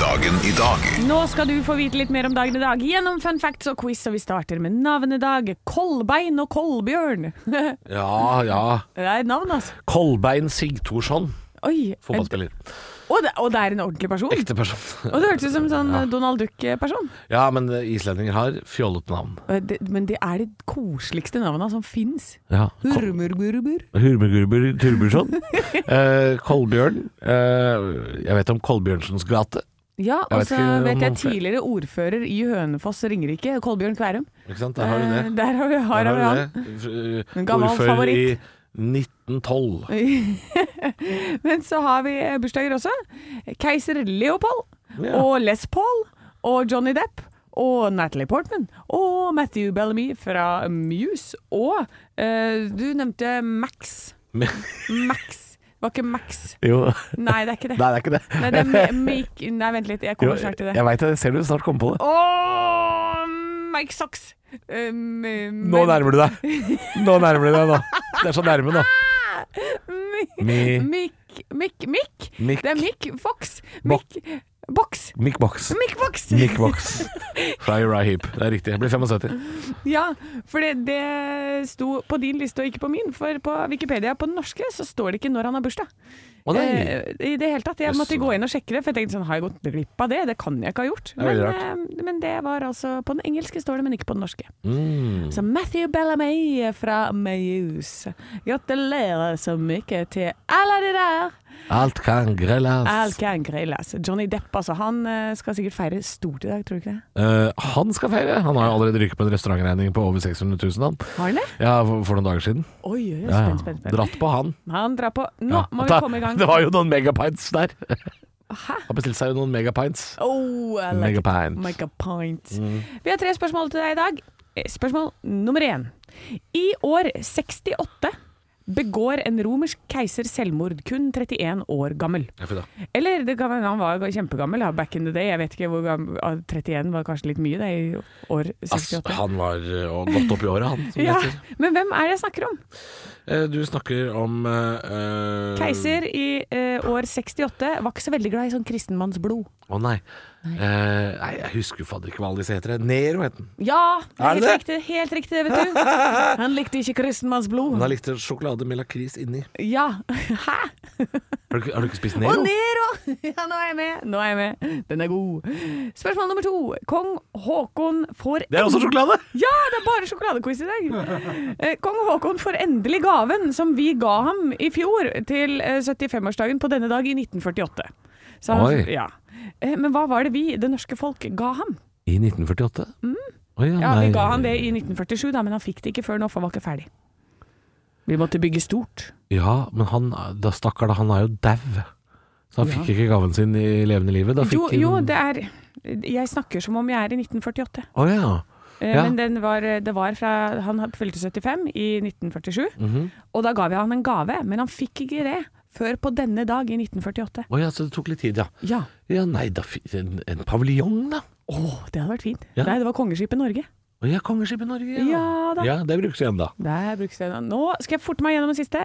[SPEAKER 2] Dagen i dag.
[SPEAKER 4] Nå skal du få vite litt mer om dagen i dag gjennom fun facts og quiz, og vi starter med navnedag. Kolbein og Kolbjørn. <laughs> det
[SPEAKER 3] Ja, ja.
[SPEAKER 4] er et navn, altså.
[SPEAKER 3] Kolbein Sigtorsson,
[SPEAKER 4] Oi. et-
[SPEAKER 3] fotballspiller.
[SPEAKER 4] Og det, og det er en ordentlig person.
[SPEAKER 3] Ekte person. <laughs>
[SPEAKER 4] Og det hørtes ut som en sånn eh, Donald Duck-person.
[SPEAKER 3] Ja, men eh, islendinger har fjollete navn.
[SPEAKER 4] Eh, det- Men det er de koseligste navnene som fins.
[SPEAKER 3] Ja. Kol-
[SPEAKER 4] Hurmurburber.
[SPEAKER 3] Hurmegurber Turbursson.
[SPEAKER 4] <laughs>
[SPEAKER 3] Eh, Kolbjørn. Eh, jeg vet om Kolbjørnsens gate.
[SPEAKER 4] Ja,
[SPEAKER 3] Jeg
[SPEAKER 4] og
[SPEAKER 3] vet
[SPEAKER 4] så
[SPEAKER 3] ikke
[SPEAKER 4] vet
[SPEAKER 3] om
[SPEAKER 4] jeg
[SPEAKER 3] noen flere.
[SPEAKER 4] tidligere ordfører i Hønefoss Ringerike, Kolbjørn Kværum.
[SPEAKER 3] Ikke sant? Der har du det.
[SPEAKER 4] Eh, Der har vi, har
[SPEAKER 3] Der
[SPEAKER 4] vi han.
[SPEAKER 3] du det.
[SPEAKER 4] En gammel
[SPEAKER 3] Ordfører
[SPEAKER 4] favoritt.
[SPEAKER 3] i 1912.
[SPEAKER 4] Men så har vi eh, bursdager også. Keiser Leopold
[SPEAKER 3] Ja.
[SPEAKER 4] og Les Paul og Johnny Depp. Og Natalie Portman og Matthew Bellamy fra Muse. Og eh, du nevnte Max.
[SPEAKER 3] Men-
[SPEAKER 4] <laughs> Max. Det var ikke Max.
[SPEAKER 3] Jo, <laughs>
[SPEAKER 4] Nei, det er ikke det.
[SPEAKER 3] nei, det er ikke det.
[SPEAKER 4] Nei, det er Mi- Mik Nei vent litt. Jeg
[SPEAKER 3] Jo,
[SPEAKER 4] kommer snart til det.
[SPEAKER 3] jeg veit det. Jeg ser du snart kommer på det.
[SPEAKER 4] Åh, Mike Socks. Eh, men-
[SPEAKER 3] Nå nærmer du deg. Nå nærmer du deg, nå. Det er så nærme, nå. Mi-
[SPEAKER 4] Mikk, Mikk, Mikk.
[SPEAKER 3] Mikk.
[SPEAKER 4] Det er Mikk Fox.
[SPEAKER 3] Bok-
[SPEAKER 4] Mikk Boks.
[SPEAKER 3] Mick Box.
[SPEAKER 4] Mikk Boks!
[SPEAKER 3] Mick Box. Fra Uriah Heap. Det er riktig. Jeg blir 75.
[SPEAKER 4] <laughs> Ja, for det, det sto på din liste og ikke på min, for på Wikipedia på den norske så står det ikke når han har bursdag.
[SPEAKER 3] Å nei.
[SPEAKER 4] Eh, I det hele tatt. Jeg
[SPEAKER 3] Jøss.
[SPEAKER 4] måtte gå inn og sjekke det, for jeg tenkte sånn, har jeg gått glipp av det? Det kan jeg ikke ha gjort.
[SPEAKER 3] er veldig
[SPEAKER 4] men, eh, men det var altså På den engelske står det, men ikke på den norske.
[SPEAKER 3] Mm.
[SPEAKER 4] Så Matthew Bellamy fra Mayus. Gratulerer så mye til alle de der!
[SPEAKER 3] Alt kan grilles.
[SPEAKER 4] Alt kan grilles. Johnny Depp, altså. Han eh, skal sikkert feire stort i dag, tror du ikke det?
[SPEAKER 3] Eh, han skal feire. Han har jo allerede ryket på en restaurantregning på over 600 000, han.
[SPEAKER 4] Har han det?
[SPEAKER 3] Ja, for, for noen dager siden.
[SPEAKER 4] Oi, oi, oi.
[SPEAKER 3] Ja, ja.
[SPEAKER 4] Spent, spent, spent.
[SPEAKER 3] Dratt på han.
[SPEAKER 4] Han drar på. Nå
[SPEAKER 3] Ja.
[SPEAKER 4] må
[SPEAKER 3] Da-
[SPEAKER 4] vi komme i gang.
[SPEAKER 3] <laughs> Det var jo noen megapints der.
[SPEAKER 4] Hæ?
[SPEAKER 3] Han bestilte seg jo noen megapints.
[SPEAKER 4] Oh, I like it.
[SPEAKER 3] Megapint. Mm.
[SPEAKER 4] Make a pint. Vi har tre spørsmål til deg i dag. Eh, Spørsmål nummer én. I år 68 begår en romersk keiser selvmord, kun 31 år gammel.
[SPEAKER 3] Ja, fy da.
[SPEAKER 4] Eller det kan hende han var kjempegammel ja, back in the day. Jeg vet ikke hvor gammel ah, 31 var kanskje litt mye det i år
[SPEAKER 3] Ass,
[SPEAKER 4] 68.
[SPEAKER 3] han var eh, godt opp i året, han. Som det
[SPEAKER 4] Ja,
[SPEAKER 3] heter.
[SPEAKER 4] men hvem er det jeg snakker om?
[SPEAKER 3] Eh, Du snakker om eh, eh,
[SPEAKER 4] Keiser i eh, år 68 var ikke så veldig glad i sånn kristenmannsblod.
[SPEAKER 3] Å nei. Eh, nei, jeg husker jo fader ikke hva alle disse heter. Nero het den.
[SPEAKER 4] Ja, det er
[SPEAKER 3] Er
[SPEAKER 4] helt
[SPEAKER 3] det
[SPEAKER 4] riktig, helt riktig, det vet
[SPEAKER 3] <laughs>
[SPEAKER 4] du. Han likte ikke kristenmannsblod.
[SPEAKER 3] Men han likte sjokolade med lakris inni.
[SPEAKER 4] Ja. Hæ?
[SPEAKER 3] Har du, ikke- har du ikke
[SPEAKER 4] Og
[SPEAKER 3] spist Nero?
[SPEAKER 4] Nero! <laughs> Ja, nå er jeg med. Nå er jeg med. Den er god. Spørsmål nummer to. Kong Haakon får
[SPEAKER 3] det er også sjokolade!
[SPEAKER 4] Ja, det er bare sjokoladequiz i dag! Eh, Kong Haakon får endelig gaven som vi ga ham i fjor til eh, 75-årsdagen på denne dag i 1948. Så han,
[SPEAKER 3] Oi.
[SPEAKER 4] Ja. Eh, Men hva var det vi, det norske folk, ga ham?
[SPEAKER 3] I 1948? Å ja,
[SPEAKER 4] Mm. Ja, Vi
[SPEAKER 3] nei.
[SPEAKER 4] ga ham det i 1947, da, men han fikk det ikke før nå, for han var ikke ferdig. Vi måtte bygge stort.
[SPEAKER 3] Ja, men han, da stakkar, da, han er jo dau. Så han fikk ikke gaven sin i levende livet. Da fikk
[SPEAKER 4] Jo, jo,
[SPEAKER 3] han-
[SPEAKER 4] det er Jeg snakker som om jeg er i 1948.
[SPEAKER 3] Å ja.
[SPEAKER 4] Eh,
[SPEAKER 3] Ja.
[SPEAKER 4] Men den var, det var fra Han fylte 75 i 1947,
[SPEAKER 3] Mhm.
[SPEAKER 4] og da ga vi han en gave, men han fikk ikke det før på denne dag i 1948.
[SPEAKER 3] Å ja, så det tok litt tid, ja.
[SPEAKER 4] Ja.
[SPEAKER 3] Ja, nei, da fikk en, en paviljong, da.
[SPEAKER 4] Å, det hadde vært fint.
[SPEAKER 3] Ja.
[SPEAKER 4] Nei, det var Kongeskipet Norge.
[SPEAKER 3] Å ja, kongeskipet Norge, ja.
[SPEAKER 4] Ja da.
[SPEAKER 3] ja det brukes igjen da.
[SPEAKER 4] Der brukes det. Nå skal jeg forte meg gjennom den siste.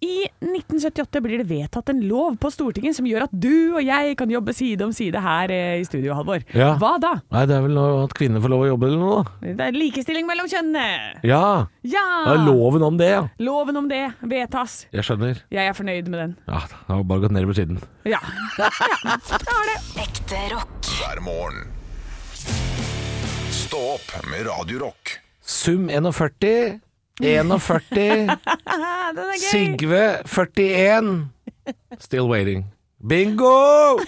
[SPEAKER 4] I 1978 blir det vedtatt en lov på Stortinget som gjør at du og jeg kan jobbe side om side her eh, i studio, Halvor.
[SPEAKER 3] Ja.
[SPEAKER 4] Hva da?
[SPEAKER 3] Nei, det er vel noe at kvinner får lov å jobbe eller noe, da.
[SPEAKER 4] Det er likestilling mellom kjønnene!
[SPEAKER 3] Ja,
[SPEAKER 4] Ja!
[SPEAKER 3] det er loven om det, ja.
[SPEAKER 4] Loven om det vedtas.
[SPEAKER 3] Jeg skjønner.
[SPEAKER 4] Jeg er fornøyd med den.
[SPEAKER 3] Ja, det har bare gått ned i betydning.
[SPEAKER 4] Ja. ja det var det.
[SPEAKER 6] Ekte rock.
[SPEAKER 2] hver morgen. Stå opp med Radio Rock.
[SPEAKER 3] Sum 41,
[SPEAKER 4] <laughs> Ah,
[SPEAKER 3] 41,
[SPEAKER 4] den er gøy!
[SPEAKER 3] Sigve 41, Still Waiting. Bingo!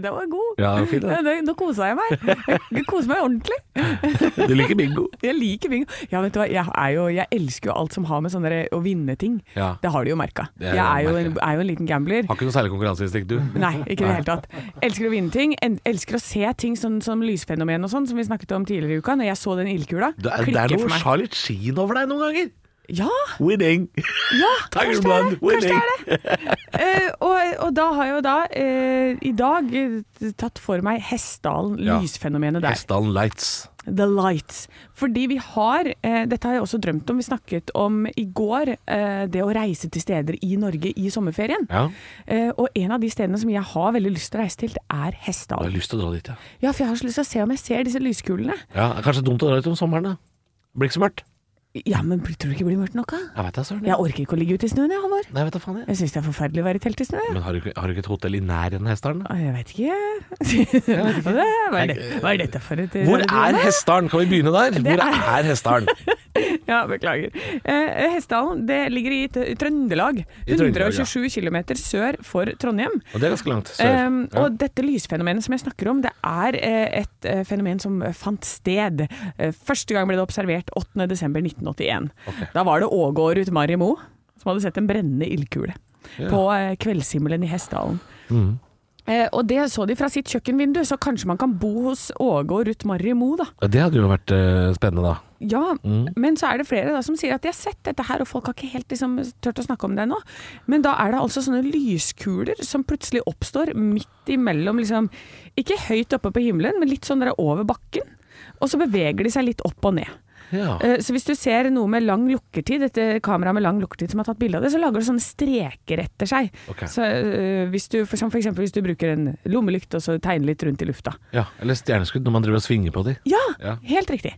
[SPEAKER 4] Den var god.
[SPEAKER 3] Ja, det var fint, det.
[SPEAKER 4] Nå, nå kosa jeg meg. Jeg koser meg ordentlig.
[SPEAKER 3] Du liker bingo.
[SPEAKER 4] Jeg liker bingo. Ja, vet du hva? Jeg, er jo, jeg elsker jo alt som har med sånne der- å vinne ting.
[SPEAKER 3] Ja.
[SPEAKER 4] Det har de jo merka.
[SPEAKER 3] Det
[SPEAKER 4] Jeg
[SPEAKER 3] er
[SPEAKER 4] er jo,
[SPEAKER 3] merket.
[SPEAKER 4] en, er jo en liten gambler.
[SPEAKER 3] Har ikke noe særlig konkurranseinstinkt, du.
[SPEAKER 4] Nei, ikke i det hele tatt. Elsker å vinne ting. en- Elsker å se ting sånn, som lysfenomen og sånn, som vi snakket om tidligere i uka. Når jeg så den ildkula,
[SPEAKER 3] Det er, det er
[SPEAKER 4] klikker for
[SPEAKER 3] noe
[SPEAKER 4] meg.
[SPEAKER 3] Charlotte Sheen over deg noen ganger.
[SPEAKER 4] Ja,
[SPEAKER 3] Winning.
[SPEAKER 4] ja
[SPEAKER 3] Tiger
[SPEAKER 4] kanskje det er
[SPEAKER 3] Blood,
[SPEAKER 4] det. Kanskje det
[SPEAKER 3] winning.
[SPEAKER 4] er det. Eh, og, og da har jeg jo da eh, i dag eh, tatt for meg Hessdalen,
[SPEAKER 3] Ja.
[SPEAKER 4] lysfenomenet der.
[SPEAKER 3] Hessdalen Lights.
[SPEAKER 4] The Lights. Fordi vi har, eh, dette har jeg også drømt om, vi snakket om i går, eh, det å reise til steder i Norge i sommerferien.
[SPEAKER 3] Ja.
[SPEAKER 4] Eh, og en av de stedene som jeg har veldig lyst til å reise til, det er
[SPEAKER 3] Jeg har
[SPEAKER 4] Hessdalen.
[SPEAKER 3] lyst til å dra dit, ja.
[SPEAKER 4] Ja, for jeg har så lyst til å se om jeg ser disse lyskulene.
[SPEAKER 3] ja det er kanskje dumt å dra dit om sommeren, da. Det Blir ikke så mørkt.
[SPEAKER 4] Ja, men tror du ikke det blir mørkt nok, da?
[SPEAKER 3] Jeg veit da søren.
[SPEAKER 4] Jeg orker ikke å ligge ute i snøen, jeg, Halvor.
[SPEAKER 3] Nei, vet da faen jeg.
[SPEAKER 4] Jeg syns det er forferdelig å være i telt i snø. jeg.
[SPEAKER 3] Men har du, ikke- har du ikke et hotell i nærheten av Hessdalen? da?
[SPEAKER 4] Å, Jeg veit ikke. <laughs> Hva er, det, hva er dette for et eh,
[SPEAKER 3] Hvor er Hessdalen? Kan vi begynne der? Hvor
[SPEAKER 4] er-
[SPEAKER 3] er Hessdalen?
[SPEAKER 4] <laughs> Ja, beklager. Eh, Hessdalen det ligger i T- Trøndelag.
[SPEAKER 3] I Trøndelag,
[SPEAKER 4] 127 km sør for Trondheim.
[SPEAKER 3] Og det er ganske langt sør.
[SPEAKER 4] Um,
[SPEAKER 3] Ja.
[SPEAKER 4] Og dette lysfenomenet som jeg snakker om, det er eh, et eh, fenomen som eh, fant sted. Eh, Første gang ble det observert 8.12.1981. Da var det Ågård Ruth Mari Moe som hadde sett en brennende ildkule på eh, kveldshimmelen i Hessdalen.
[SPEAKER 3] Mm.
[SPEAKER 4] Eh, og det så de fra sitt kjøkkenvindu, så kanskje man kan bo hos Åge og Ruth Marry Moe, da.
[SPEAKER 3] Ja, Det hadde jo vært eh, spennende, da.
[SPEAKER 4] Ja, men så er det flere da, som sier at de har sett dette her, og folk har ikke helt liksom, tørt å snakke om det ennå. Men da er det altså sånne lyskuler som plutselig oppstår midt imellom, liksom, ikke høyt oppe på himmelen, men litt sånn der over bakken. Og så beveger de seg litt opp og ned.
[SPEAKER 3] Ja.
[SPEAKER 4] Eh, Så hvis du ser noe med lang lukkertid, dette kameraet med lang lukkertid som har tatt bilde av det, så lager det sånne streker etter seg.
[SPEAKER 3] Ok.
[SPEAKER 4] Så, eh, hvis du, for, som for eksempel hvis du bruker en lommelykt og så tegner litt rundt i lufta.
[SPEAKER 3] ja. Eller stjerneskudd, når man driver og svinger på de.
[SPEAKER 4] Ja,
[SPEAKER 3] Ja.
[SPEAKER 4] helt riktig.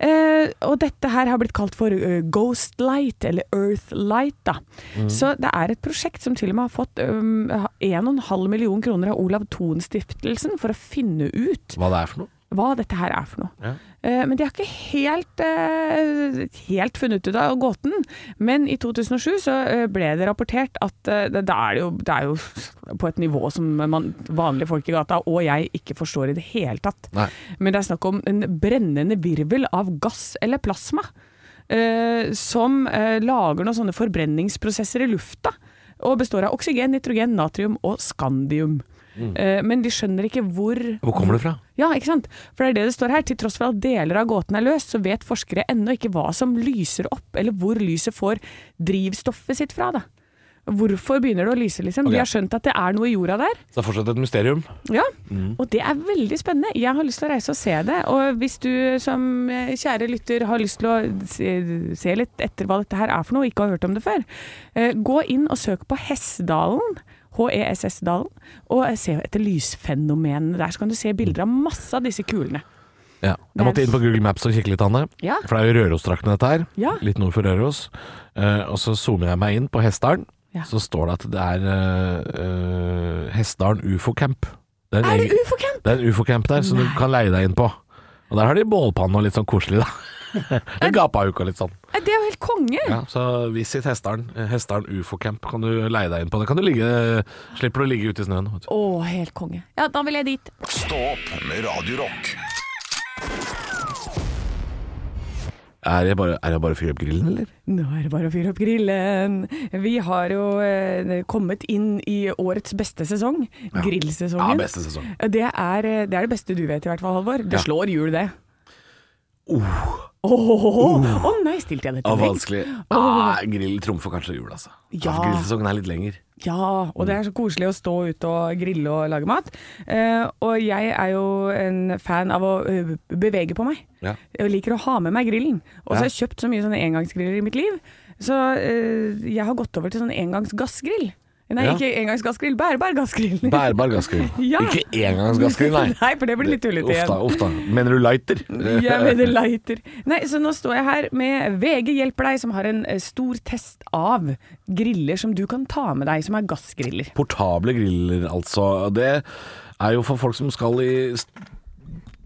[SPEAKER 4] Eh, og dette her har blitt kalt for eh, Ghost Light, eller Earth Light, da.
[SPEAKER 3] Mm.
[SPEAKER 4] Så det er et prosjekt som til og med har fått um, 1,5 million kroner av Olav Thon-stiftelsen for å finne ut
[SPEAKER 3] Hva det er for noe.
[SPEAKER 4] hva dette her er for noe.
[SPEAKER 3] Ja.
[SPEAKER 4] Eh, men de har ikke helt, eh, helt funnet ut av gåten. Men i 2007 så eh, ble det rapportert at eh, det, det, er jo, det er jo på et nivå som man, vanlige folk i gata og jeg ikke forstår i det hele tatt.
[SPEAKER 3] Nei.
[SPEAKER 4] Men det er snakk om en brennende virvel av gass eller plasma. eh, som eh, lager noen sånne forbrenningsprosesser i lufta. Og består av oksygen, nitrogen, natrium og skandium. Eh, men de skjønner ikke hvor
[SPEAKER 3] Mm. Hvor kommer det fra?
[SPEAKER 4] ja, ikke sant? For det er det det står her. Til tross for at deler av gåten er løst, så vet forskere ennå ikke hva som lyser opp, eller hvor lyset får drivstoffet sitt fra. da. Hvorfor begynner det å lyse, liksom?
[SPEAKER 3] Ok.
[SPEAKER 4] De har skjønt at det er noe i jorda der.
[SPEAKER 3] Så det er fortsatt et mysterium.
[SPEAKER 4] Ja, Og det er veldig spennende. Jeg har lyst til å reise og se det. Og hvis du som eh, kjære lytter har lyst til å se, se litt etter hva dette her er for noe, og ikke har hørt om det før, eh, gå inn og søk på Hessdalen. HESS-dalen. Og se etter lysfenomenene der. Så kan du se bilder av masse av disse kulene.
[SPEAKER 3] Ja.
[SPEAKER 4] Det
[SPEAKER 3] Jeg
[SPEAKER 4] er-
[SPEAKER 3] måtte inn på Google Maps og kikke litt, Anne.
[SPEAKER 4] Ja.
[SPEAKER 3] For det er jo Rørostraktene dette her.
[SPEAKER 4] Ja.
[SPEAKER 3] Litt nord for Røros. Eh, og så zoomer jeg meg inn på Hessdalen.
[SPEAKER 4] Ja.
[SPEAKER 3] Så står det at det er eh, eh, Hessdalen ufo-camp. Det en
[SPEAKER 4] Er det
[SPEAKER 3] egen-
[SPEAKER 4] ufo-camp?
[SPEAKER 3] Det er en ufo-camp der som du
[SPEAKER 4] Nei.
[SPEAKER 3] kan leie deg inn på. Og der har de bålpanne og litt sånn koselig,
[SPEAKER 4] <laughs>
[SPEAKER 3] da. En gapahuk og litt sånn.
[SPEAKER 4] Nei, Det er jo helt konge!
[SPEAKER 3] Ja, så visit Hessdalen. Hessdalen ufo-camp kan du leie deg inn på. Det kan du ligge Slipper du å ligge ute i snøen. vet du.
[SPEAKER 4] Å, helt konge. Ja, da vil jeg dit.
[SPEAKER 2] Stå opp med Radio Rock
[SPEAKER 3] Er jeg bare, er jeg bare å fyre opp grillen, eller?
[SPEAKER 4] Nå er det bare å fyre opp grillen. Vi har jo eh, kommet inn i årets beste sesong, grillsesongen.
[SPEAKER 3] Ja, beste sesong.
[SPEAKER 4] Det er, eh, det er det beste du vet i hvert fall, Halvor. Det
[SPEAKER 3] Ja.
[SPEAKER 4] slår jul, det. Å nei, stilte jeg det til
[SPEAKER 3] Og
[SPEAKER 4] deg?
[SPEAKER 3] Oh. vanskelig. Ah, grill trumfer kanskje jul, altså.
[SPEAKER 4] Ja.
[SPEAKER 3] For Grillsesongen er litt lenger.
[SPEAKER 4] Ja, og det
[SPEAKER 3] Mm.
[SPEAKER 4] er så koselig å stå ute og grille og lage mat. Eh, og jeg er jo en fan av å ø, bevege på meg.
[SPEAKER 3] Ja.
[SPEAKER 4] Jeg liker å ha med meg grillen. Og så
[SPEAKER 3] Ja.
[SPEAKER 4] har jeg kjøpt så mye sånne engangsgriller i mitt liv, så eh, jeg har gått over til sånn engangsgassgrill. Nei,
[SPEAKER 3] Ja.
[SPEAKER 4] ikke engangsgassgrill, bærbar gassgrill.
[SPEAKER 3] Bærbar gassgrill.
[SPEAKER 4] Ja.
[SPEAKER 3] Ikke engangsgassgrill, nei.
[SPEAKER 4] <laughs> Nei, for det blir litt tullete igjen.
[SPEAKER 3] Ofte, ofte. Mener du
[SPEAKER 4] <laughs>
[SPEAKER 3] lighter?
[SPEAKER 4] Jeg mener lighter. Nei, så nå står jeg her med VG hjelper deg, som har en eh, stor test av griller som du kan ta med deg, som er gassgriller.
[SPEAKER 3] <laughs> Portable griller, altså. Det er jo for folk som skal i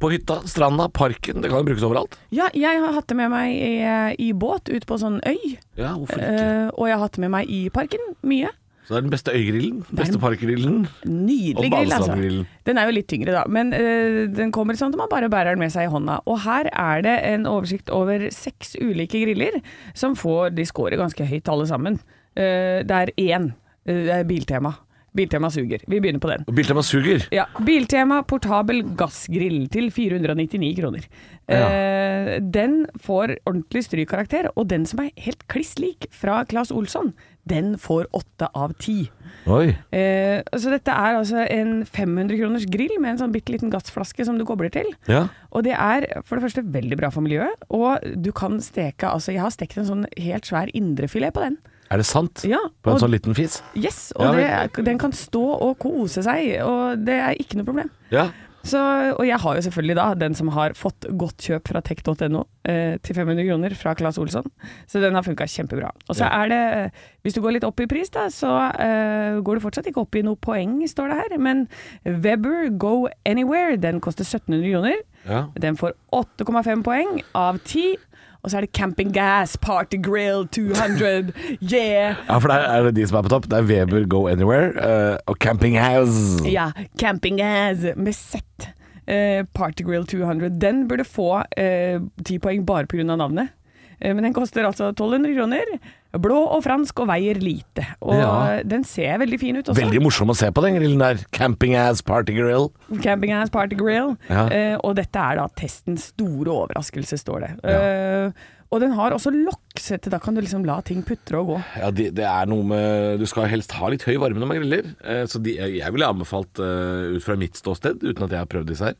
[SPEAKER 3] på hytta, stranda, parken. Det kan jo brukes overalt.
[SPEAKER 4] Ja, jeg har hatt det med meg i, eh, i båt ut på sånn øy,
[SPEAKER 3] Ja, hvorfor
[SPEAKER 4] eh, og jeg har hatt det med meg i parken mye.
[SPEAKER 3] Så det er den beste øygrillen, beste
[SPEAKER 4] den-
[SPEAKER 3] parkgrillen.
[SPEAKER 4] Nydelig
[SPEAKER 3] Og
[SPEAKER 4] grill, altså.
[SPEAKER 3] Balestrandgrillen.
[SPEAKER 4] Den er jo litt tyngre, da, men eh, den kommer sånn at man bare bærer den med seg i hånda. Og her er det en oversikt over seks ulike griller, som får De scorer ganske høyt, alle sammen. Eh, det er én. eh, det er Biltema. Biltema suger. Vi begynner på den.
[SPEAKER 3] Og Biltema suger.
[SPEAKER 4] Ja, Biltema portabel gassgrill til 499 kroner. Eh, den får ordentlig strykkarakter, og den som er helt kliss lik fra Claes Olsson, den får åtte av ti.
[SPEAKER 3] Oi.
[SPEAKER 4] Eh, så dette er altså en 500 kroners grill med en sånn bitte liten gassflaske som du kobler til.
[SPEAKER 3] Ja.
[SPEAKER 4] Og det er for det første veldig bra for miljøet, og du kan steke altså Jeg har stekt en sånn helt svær indrefilet på den.
[SPEAKER 3] Er det sant?
[SPEAKER 4] Ja,
[SPEAKER 3] På en
[SPEAKER 4] og-
[SPEAKER 3] sånn liten fis?
[SPEAKER 4] Yes,
[SPEAKER 3] Ja,
[SPEAKER 4] og det, er- den kan stå og kose seg, og det er ikke noe problem.
[SPEAKER 3] Ja.
[SPEAKER 4] Så, og jeg har jo selvfølgelig da den som har fått godt kjøp fra tech.no eh, til 500 kroner fra Claes Olsson, så den har funka kjempebra. Og så er det, eh, hvis du går litt opp i pris da, så eh, går du fortsatt ikke opp i noe poeng, står det her, men Weber Go Anywhere, den koster 1700 kroner.
[SPEAKER 3] Ja.
[SPEAKER 4] Den får 8,5 poeng av 10. Og så er det Camping Gas Party Grill 200, yeah!
[SPEAKER 3] Ja, for der er det de som er på topp. Det er Weber Go Anywhere eh, og Camping House.
[SPEAKER 4] Ja, Camping Ass med sett. Eh, Party Grill 200. Den burde få eh, 10 poeng bare pga. navnet. Eh, men den koster altså 1200 kroner. Blå og fransk og veier lite. Og
[SPEAKER 3] Ja.
[SPEAKER 4] den ser veldig fin ut også.
[SPEAKER 3] Veldig morsom å se på den grillen der. Camping Ass Party Grill.
[SPEAKER 4] Camping Ass Party Grill.
[SPEAKER 3] Ja.
[SPEAKER 4] Eh, og dette er da testens store overraskelse, står det.
[SPEAKER 3] Ja.
[SPEAKER 4] Eh, og den har også lokk, så da kan du liksom la ting putre og gå.
[SPEAKER 3] Ja, de, det er noe med Du skal helst ha litt høy varme når man griller. Eh, så de, jeg ville anbefalt, eh, ut fra mitt ståsted, uten at jeg har prøvd disse her,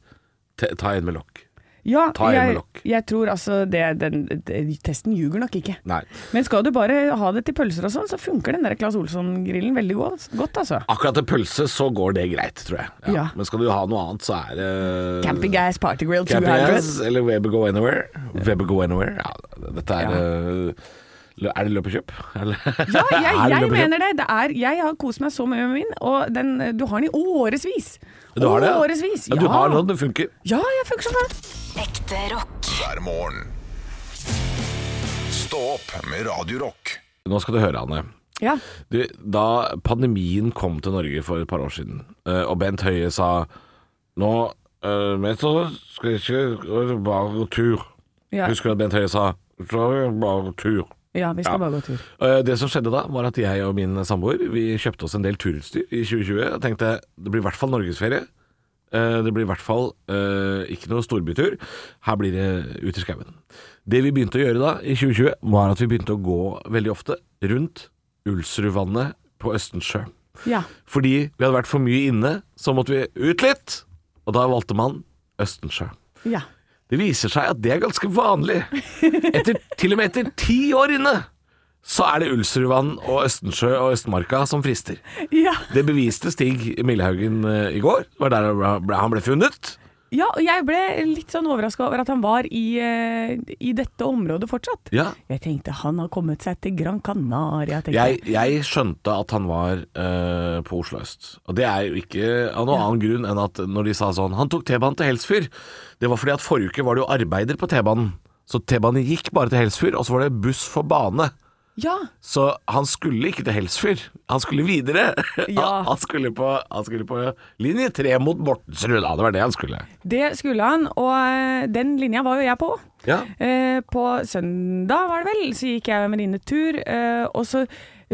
[SPEAKER 3] te, ta en med lokk.
[SPEAKER 4] Ja,
[SPEAKER 3] Ta en med
[SPEAKER 4] jeg,
[SPEAKER 3] lokk.
[SPEAKER 4] jeg tror altså det, den, den, Testen ljuger nok ikke.
[SPEAKER 3] Nei.
[SPEAKER 4] Men skal du bare ha det til pølser og sånn, så funker den der Claes Olsson-grillen veldig godt, godt altså.
[SPEAKER 3] Akkurat til pølse så går det greit, tror jeg.
[SPEAKER 4] Ja.
[SPEAKER 3] Men skal du ha noe annet, så er det
[SPEAKER 4] Camping Gas Party Grill
[SPEAKER 3] Camping
[SPEAKER 4] 200.
[SPEAKER 3] Ass eller Weber Go Anywhere. Weber Go Anywhere. Ja, dette er eh, Er det løp og kjøp? <laughs> Eller?
[SPEAKER 4] Ja,
[SPEAKER 3] <laughs>
[SPEAKER 4] jeg,
[SPEAKER 3] Er det løp
[SPEAKER 4] jeg
[SPEAKER 3] og kjøp?
[SPEAKER 4] mener det. det er, jeg har kost meg så mye med min, og den, du har den i årevis.
[SPEAKER 3] Du har det? ja?
[SPEAKER 4] Årevis, ja.
[SPEAKER 3] ja. Du har den, og den funker.
[SPEAKER 4] Ja, jeg funker som faen.
[SPEAKER 6] Ekte rock.
[SPEAKER 2] hver morgen. Stå opp med Radio Rock.
[SPEAKER 3] Nå skal du høre, Anne.
[SPEAKER 4] Ja.
[SPEAKER 3] Du, da pandemien kom til Norge for et par år siden, eh, og Bent Høie sa Nå eh, men så skal jeg ikke eh, bare gå tur.
[SPEAKER 4] Ja.
[SPEAKER 3] Husker du at Bent Høie sa Så skal jeg bare gå tur.
[SPEAKER 4] ja, vi skal
[SPEAKER 3] Ja.
[SPEAKER 4] bare gå tur.
[SPEAKER 3] Eh, Det som skjedde da, var at jeg og min samboer Vi kjøpte oss en del turutstyr i 2020 og tenkte det blir i hvert fall norgesferie. Eh, Det blir i hvert fall eh, ikke noe storbytur. Her blir det ut i skauen. Det vi begynte å gjøre da, i 2020, var at vi begynte å gå veldig ofte rundt Ulsrudvannet på Østensjø.
[SPEAKER 4] Ja.
[SPEAKER 3] Fordi vi hadde vært for mye inne, så måtte vi ut litt. Og da valgte man Østensjø.
[SPEAKER 4] ja.
[SPEAKER 3] Det viser seg at det er ganske vanlig. Etter, til og med etter ti år inne, så er det Ulsrudvann og Østensjø og Østmarka som frister.
[SPEAKER 4] Ja.
[SPEAKER 3] Det beviste Stig Millehaugen eh, i går. Det var der han ble- han ble funnet.
[SPEAKER 4] ja, og jeg ble litt sånn overraska over at han var i, eh, i dette området fortsatt.
[SPEAKER 3] Ja.
[SPEAKER 4] Jeg tenkte han har kommet seg til Gran Canaria, tenkte
[SPEAKER 3] Jeg, jeg skjønte at han var eh, på Oslo øst. Og det er jo ikke av noen annen grunn enn at når de sa sånn Han tok T-banen til Helsfyr. Det var fordi at forrige uke var det jo arbeider på T-banen. Så T-banen gikk bare til Helsfyr, og så var det buss for bane.
[SPEAKER 4] Ja.
[SPEAKER 3] Så han skulle ikke til Helsfyr, han skulle videre. <laughs>
[SPEAKER 4] Ja.
[SPEAKER 3] Han, han, skulle på, han skulle på linje tre mot Mortensrud, da. Det var det han skulle.
[SPEAKER 4] Det skulle han, og eh, den linja var jo jeg på.
[SPEAKER 3] Ja.
[SPEAKER 4] Eh, på søndag var det vel, så gikk jeg og en venninne tur, eh, og så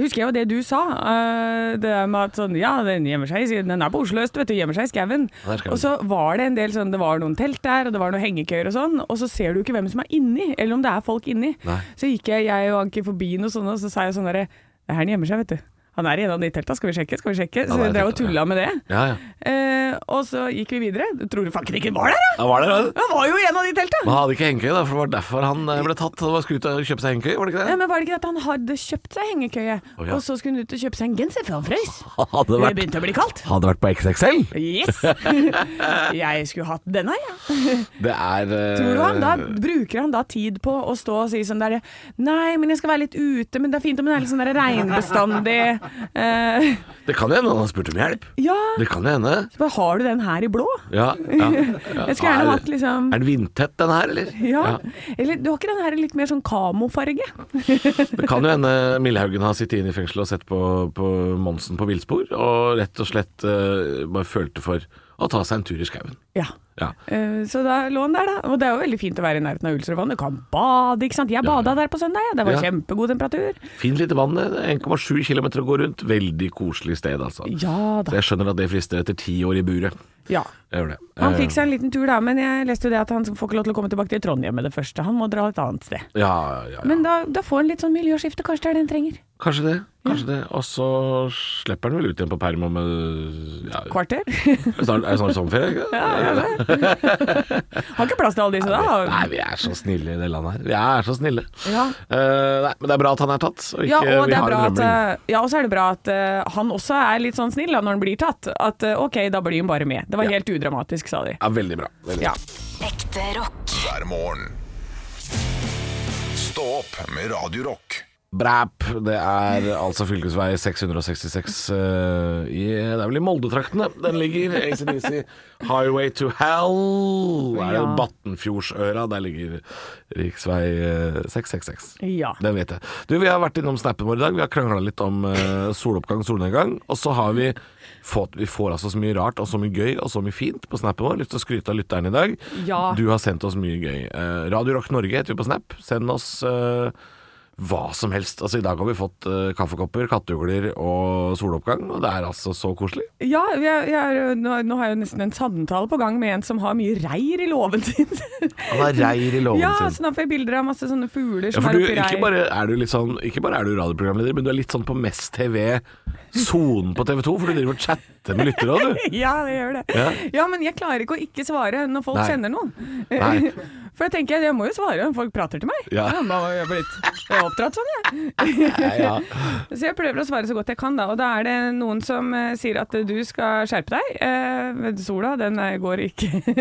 [SPEAKER 4] husker jeg jo det du sa. eh, det der med at sånn, ja, den gjemmer seg, i- den er på Oslo øst, vet du, gjemmer seg i skauen.
[SPEAKER 3] Ja, der skal vi.
[SPEAKER 4] Og så var det en del sånn, det var noen telt der, og det var noen hengekøyer og sånn, og så ser du ikke hvem som er inni, eller om det er folk inni.
[SPEAKER 3] Nei.
[SPEAKER 4] Så gikk jeg, jeg og Anki forbi noe sånt, og så sa jeg sånn derre, det er her den gjemmer seg, vet du. Han er i en av de telta, skal vi sjekke, skal vi sjekke? Så
[SPEAKER 3] det er
[SPEAKER 4] jeg drev og
[SPEAKER 3] teltet, ja.
[SPEAKER 4] tulla med det.
[SPEAKER 3] Ja, ja.
[SPEAKER 4] Eh, og så gikk vi videre. Tror du fanken ikke var der, da?
[SPEAKER 3] Da var det det.
[SPEAKER 4] Han var jo i en av de telta!
[SPEAKER 3] Man hadde ikke hengekøye, da, for det var derfor han eh, ble tatt. Han skulle ut og kjøpe seg hengekøye, var det
[SPEAKER 4] Ja,
[SPEAKER 3] ikke det?
[SPEAKER 4] men var det ikke at han hadde kjøpt seg hengekøye,
[SPEAKER 3] Å, ja.
[SPEAKER 4] og så skulle han ut og kjøpe seg en genser før han frøs?
[SPEAKER 3] Hadde
[SPEAKER 4] Det
[SPEAKER 3] vært,
[SPEAKER 4] begynte å bli kaldt.
[SPEAKER 3] hadde vært på XXL. <laughs>
[SPEAKER 4] Yes! Jeg skulle hatt denne, jeg.
[SPEAKER 3] Det er eh,
[SPEAKER 4] Tror du han da bruker han da tid på å stå og si sånn derre Nei, men jeg skal være litt ute, men det er fint om den er litt sånn derre regnbestandig. Eh,
[SPEAKER 3] Det kan jo hende han har spurt om hjelp.
[SPEAKER 4] ja,
[SPEAKER 3] Det kan jo hende.
[SPEAKER 4] så bare har du den her i blå?
[SPEAKER 3] Ja, ja, ja.
[SPEAKER 4] <laughs> Jeg skulle gjerne
[SPEAKER 3] Er-
[SPEAKER 4] hatt liksom
[SPEAKER 3] Er den vindtett, den her, eller?
[SPEAKER 4] ja. Eller du har ikke den her i litt mer sånn kamofarge?
[SPEAKER 3] Det kan jo hende Millehaugen har sittet inne i fengselet og sett på, på Monsen på villspor, og rett og slett eh, bare følte for å ta seg en tur i skauen.
[SPEAKER 4] Ja.
[SPEAKER 3] Ja.
[SPEAKER 4] Eh, Så da lå han der, da. Og det er jo veldig fint å være i nærheten av Ulstervann. Du kan bade, ikke sant. Jeg bada der på søndag, jeg. Det var
[SPEAKER 3] Ja.
[SPEAKER 4] kjempegod temperatur.
[SPEAKER 3] Fint lite vann, eh, 1,7 km å gå rundt. Veldig koselig sted, altså.
[SPEAKER 4] Ja
[SPEAKER 3] Så
[SPEAKER 4] da.
[SPEAKER 3] jeg skjønner at det frister etter ti år i buret.
[SPEAKER 4] Ja.
[SPEAKER 3] Jeg gjør det.
[SPEAKER 4] Han
[SPEAKER 3] Eh,
[SPEAKER 4] fikk seg en liten tur da, men jeg leste jo det at han får ikke lov til å komme tilbake til Trondheim med det første. Han må dra et annet sted.
[SPEAKER 3] Eh, Ja, ja, ja.
[SPEAKER 4] Men da, da får han litt sånn miljøskifte, kanskje det er det han trenger.
[SPEAKER 3] Kanskje det. Kanskje det. Og så slipper han vel ut igjen på perm om eh, ja,
[SPEAKER 4] Kvarter. <laughs>
[SPEAKER 3] snart, Er det snart sommerferie? ikke?
[SPEAKER 4] ja, ja, det. Har ikke plass til alle disse da.
[SPEAKER 3] Nei, vi er så snille i det landet her. Vi er så snille.
[SPEAKER 4] Ja.
[SPEAKER 3] Eh, nei, men det er bra at han er tatt, og ikke
[SPEAKER 4] Ja, og det
[SPEAKER 3] vi
[SPEAKER 4] er
[SPEAKER 3] har
[SPEAKER 4] bra
[SPEAKER 3] en
[SPEAKER 4] at,
[SPEAKER 3] rømling.
[SPEAKER 4] eh, ja, og så er det bra at eh, han også er litt sånn snill da, når han blir tatt. At eh, ok, da blir han bare med. Det var helt udramatisk, sa de.
[SPEAKER 3] Ja, veldig bra. Veldig.
[SPEAKER 4] Ja.
[SPEAKER 6] Ekte rock.
[SPEAKER 2] hver morgen. Stå opp med Radio Rock.
[SPEAKER 3] Bræp, det er altså fylkesvei 666 eh, i, Det er vel i Moldetraktene den ligger. ACDC Highway to Hell. Det er jo
[SPEAKER 4] Ja.
[SPEAKER 3] Battenfjordsøra. Der ligger riksvei eh, 666.
[SPEAKER 4] Ja.
[SPEAKER 3] Den vet jeg. Du, Vi har vært innom snappen vår i dag. Vi har krangla litt om eh, soloppgang solnedgang. Og så har vi fått Vi får altså så mye rart og så mye gøy og så mye fint på snappen vår. Lyst til å skryte av lytteren i dag.
[SPEAKER 4] Ja.
[SPEAKER 3] Du har sendt oss mye gøy. Eh, Radio Rock Norge heter vi på Snap. Send oss eh, hva som helst. Altså I dag har vi fått eh, kaffekopper, kattugler og soloppgang. Og det er altså så koselig.
[SPEAKER 4] Ja, jeg, jeg er, jo- nå, nå har jeg jo nesten en samtale på gang med en som har mye reir i låven sin.
[SPEAKER 3] Han har reir i <laughs> låven
[SPEAKER 4] ja,
[SPEAKER 3] sin.
[SPEAKER 4] så da får jeg bilder av masse sånne fugler
[SPEAKER 3] Ja,
[SPEAKER 4] som er
[SPEAKER 3] for du,
[SPEAKER 4] oppi reir.
[SPEAKER 3] ikke, bare er du litt sånn, ikke bare er du radioprogramleder, men du er litt sånn på Mest TV, sonen på TV 2, for du driver og chatter med lyttere
[SPEAKER 4] <laughs>
[SPEAKER 3] òg, du.
[SPEAKER 4] <laughs> Ja, det gjør det.
[SPEAKER 3] Ja.
[SPEAKER 4] Ja. men jeg klarer ikke å ikke svare når folk
[SPEAKER 3] Nei.
[SPEAKER 4] sender noe.
[SPEAKER 3] Nei.
[SPEAKER 4] <laughs> For jeg tenker, jeg må jo svare når folk prater til meg.
[SPEAKER 3] Ja.
[SPEAKER 4] da har jeg, blitt, jeg er oppdratt sånn, jeg. <laughs>
[SPEAKER 3] Ja,
[SPEAKER 4] Så jeg prøver å svare så godt jeg kan, da. Og da er det noen som eh, sier at eh, du skal skjerpe deg. Eh, sola, den eh, går ikke <laughs>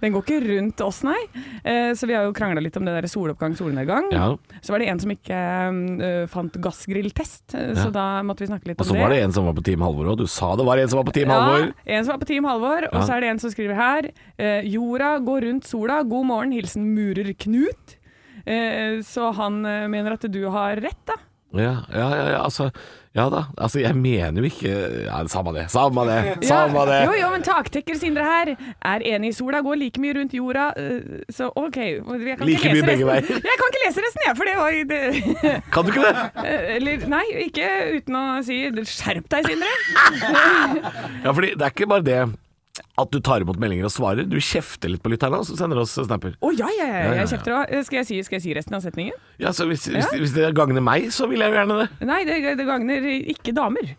[SPEAKER 4] Den går ikke rundt oss, nei. Eh, så vi har jo krangla litt om det der soloppgang, solnedgang.
[SPEAKER 3] Ja.
[SPEAKER 4] Så var det en som ikke eh, fant gassgrilltest, eh,
[SPEAKER 3] Ja.
[SPEAKER 4] så da måtte vi snakke litt
[SPEAKER 3] Og så
[SPEAKER 4] om det.
[SPEAKER 3] var det en som var på Team Halvor òg. Du sa det var en som var på Team Halvor.
[SPEAKER 4] Ja, en som er på Team Halvor, og
[SPEAKER 3] Ja.
[SPEAKER 4] så er det en som skriver her eh, Jorda går rundt sola, god morgen, hilsen murer Knut. Eh, så han eh, mener at du har rett, da.
[SPEAKER 3] Ja, ja, ja, ja, altså, ja da. Altså, jeg mener jo ikke ja, Samme det, samme det, samme Sånn det.
[SPEAKER 4] Jo, jo, men taktekker Sindre her er enig i sola, går like mye rundt jorda, eh, så OK. Jeg kan ikke
[SPEAKER 3] Like mye
[SPEAKER 4] lese resten.
[SPEAKER 3] begge veier.
[SPEAKER 4] Jeg kan ikke lese resten, jeg, for det var det, <laughs>
[SPEAKER 3] Kan du ikke det?
[SPEAKER 4] eh, Eller nei, ikke uten å si skjerp deg, Sindre.
[SPEAKER 3] Ja, fordi det er ikke bare det at du tar imot meldinger og svarer. Du kjefter litt på lytterne og så sender du oss snapper.
[SPEAKER 4] Å ja, ja, ja,
[SPEAKER 3] Ja, ja, ja.
[SPEAKER 4] jeg kjefter òg. Skal, jeg si, skal jeg si resten av setningen?
[SPEAKER 3] Ja, så Hvis,
[SPEAKER 4] Ja.
[SPEAKER 3] hvis, hvis det gagner meg, så vil jeg jo gjerne det.
[SPEAKER 4] Nei, det, det gagner ikke damer.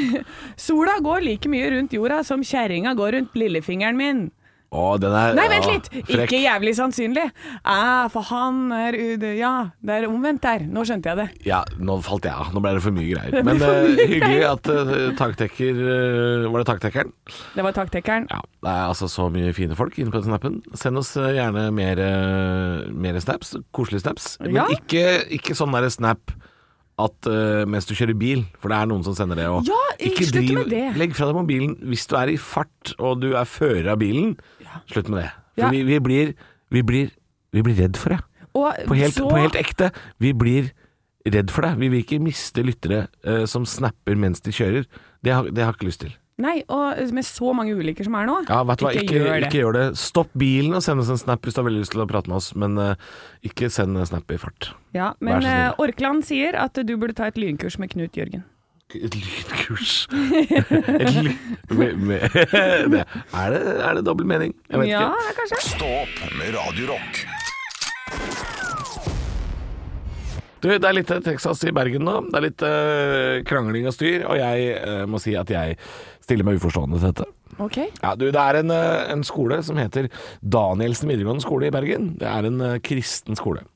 [SPEAKER 4] <laughs> Sola går like mye rundt jorda som kjerringa går rundt lillefingeren min.
[SPEAKER 3] Å, den er
[SPEAKER 4] Nei,
[SPEAKER 3] å,
[SPEAKER 4] vent litt!
[SPEAKER 3] frekk.
[SPEAKER 4] Ikke jævlig sannsynlig. Ah, for han er u- det- Ja, det er omvendt der. Nå skjønte jeg det.
[SPEAKER 3] Ja, nå falt jeg av. Nå ble det for mye greier.
[SPEAKER 4] <laughs>
[SPEAKER 3] Men eh, hyggelig at eh, taktekker eh, Var det taktekkeren?
[SPEAKER 4] Det var taktekkeren.
[SPEAKER 3] Ja, det er altså så mye fine folk inne på den snappen. Send oss eh, gjerne mer, eh, mer snaps, koselige snaps. Men
[SPEAKER 4] Ja.
[SPEAKER 3] ikke, ikke sånn derre snap at eh, mens du kjører bil, for det er noen som sender det. Og
[SPEAKER 4] Ja, slutt med det.
[SPEAKER 3] Legg fra deg mobilen hvis du er i fart og du er fører av bilen. Slutt med det. For
[SPEAKER 4] Ja.
[SPEAKER 3] vi, vi, blir, vi, blir, vi blir redd for det.
[SPEAKER 4] Og
[SPEAKER 3] På helt,
[SPEAKER 4] så
[SPEAKER 3] på helt ekte. Vi blir redd for det. Vi vil ikke miste lyttere eh, som snapper mens de kjører. Det har, det har jeg ikke lyst til.
[SPEAKER 4] Nei, og med så mange ulykker som er nå.
[SPEAKER 3] Ja, vet du hva,
[SPEAKER 4] Ikke
[SPEAKER 3] ikke,
[SPEAKER 4] gjør det.
[SPEAKER 3] ikke gjør det. Stopp bilen og send oss en snap hvis du har veldig lyst til å prate med oss, men eh, ikke send en snap i fart.
[SPEAKER 4] Ja,
[SPEAKER 3] Vær så
[SPEAKER 4] men
[SPEAKER 3] snill.
[SPEAKER 4] eh, Orkland sier at du burde ta et lynkurs med Knut Jørgen.
[SPEAKER 3] Et lynkurs <laughs> Et ly med, med, <laughs> det. Er, det, er det dobbel mening? Jeg vet
[SPEAKER 4] ja,
[SPEAKER 3] ikke.
[SPEAKER 4] kanskje.
[SPEAKER 2] Stå opp med Radio Rock.
[SPEAKER 3] Du, det er litt eh, Texas i Bergen nå. Det er litt eh, krangling og styr, og jeg eh, må si at jeg stiller meg uforstående til dette.
[SPEAKER 4] Ok.
[SPEAKER 3] Ja, du, Det er en, eh, en skole som heter Danielsen videregående skole i Bergen. Det er en eh, kristen skole.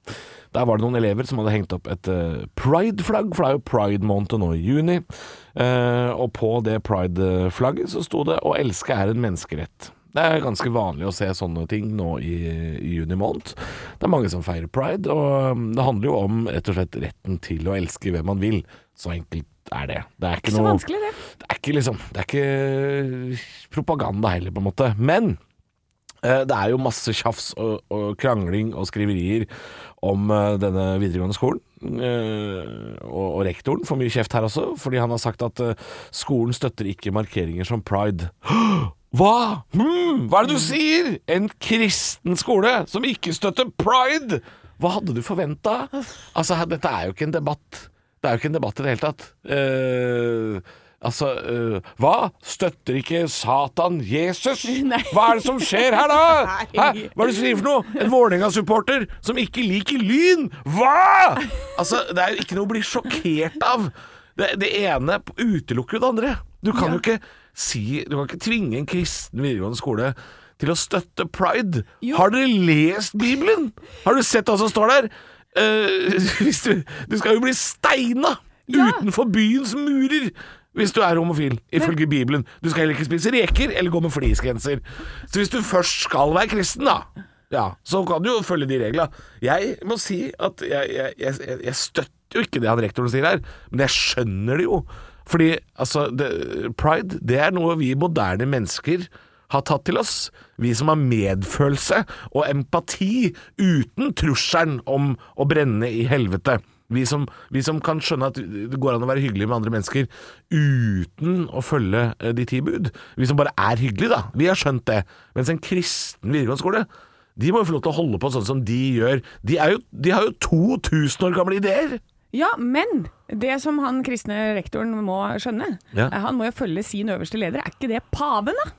[SPEAKER 3] Der var det noen elever som hadde hengt opp et eh, pride-flagg, for det er jo pride-måned nå i juni. Eh, og på det pride-flagget så sto det 'Å elske er en menneskerett'. Det er ganske vanlig å se sånne ting nå i, i juni måned. Det er mange som feirer pride, og mm, det handler jo om rett og slett retten til å elske hvem man vil. Så enkelt er det. Det er ikke,
[SPEAKER 4] Ikke så
[SPEAKER 3] noe
[SPEAKER 4] vanskelig, det.
[SPEAKER 3] det er ikke liksom Det er ikke propaganda heller, på en måte. Men eh, det er jo masse tjafs og, og krangling og skriverier om eh, denne videregående skolen. Eh, og, og rektoren får mye kjeft her også, fordi han har sagt at eh, skolen støtter ikke markeringer som pride. <gasps> Hva? Hm, hva er det du sier? En kristen skole som ikke støtter pride? Hva hadde du forventa? Altså, her- dette er jo ikke en debatt. Det er jo ikke en debatt i det hele tatt. Eh, altså eh, Hva? Støtter ikke Satan Jesus? Hva er det som skjer her, da? Hæ? Hva er det du sier for noe? En Vålerenga-supporter som ikke liker Lyn? Hva?! Altså, det er jo ikke noe å bli sjokkert av. Det, det ene utelukker jo det andre. Du kan jo ikke si Du kan ikke tvinge en kristen videregående skole til å støtte pride. Har dere lest Bibelen? Har du sett hva som står der? Eh, <laughs> hvis du, du skal jo bli steina utenfor byens murer hvis du er homofil, ifølge Bibelen. Du skal heller ikke spise reker eller gå med fleecegenser. Så hvis du først skal være kristen, da, ja, så kan du jo følge de reglene. Jeg må si at jeg, jeg, jeg, jeg støtter jo ikke det han rektoren sier her, men jeg skjønner det jo. Fordi altså, det, pride, det er noe vi moderne mennesker har tatt til oss. Vi som har medfølelse og empati uten trusselen om å brenne i helvete. Vi som, vi som kan skjønne at det går an å være hyggelig med andre mennesker uten å følge eh, de ti bud. Vi som bare er hyggelige, da. Vi har skjønt det. Mens en kristen videregående skole, de må jo få lov til å holde på sånn som de gjør. De, er jo, de har jo 2000 år gamle ideer!
[SPEAKER 4] Ja, men det som han kristne rektoren må skjønne,
[SPEAKER 3] Ja.
[SPEAKER 4] eh, han må jo følge sin øverste leder. Er ikke det paven, da?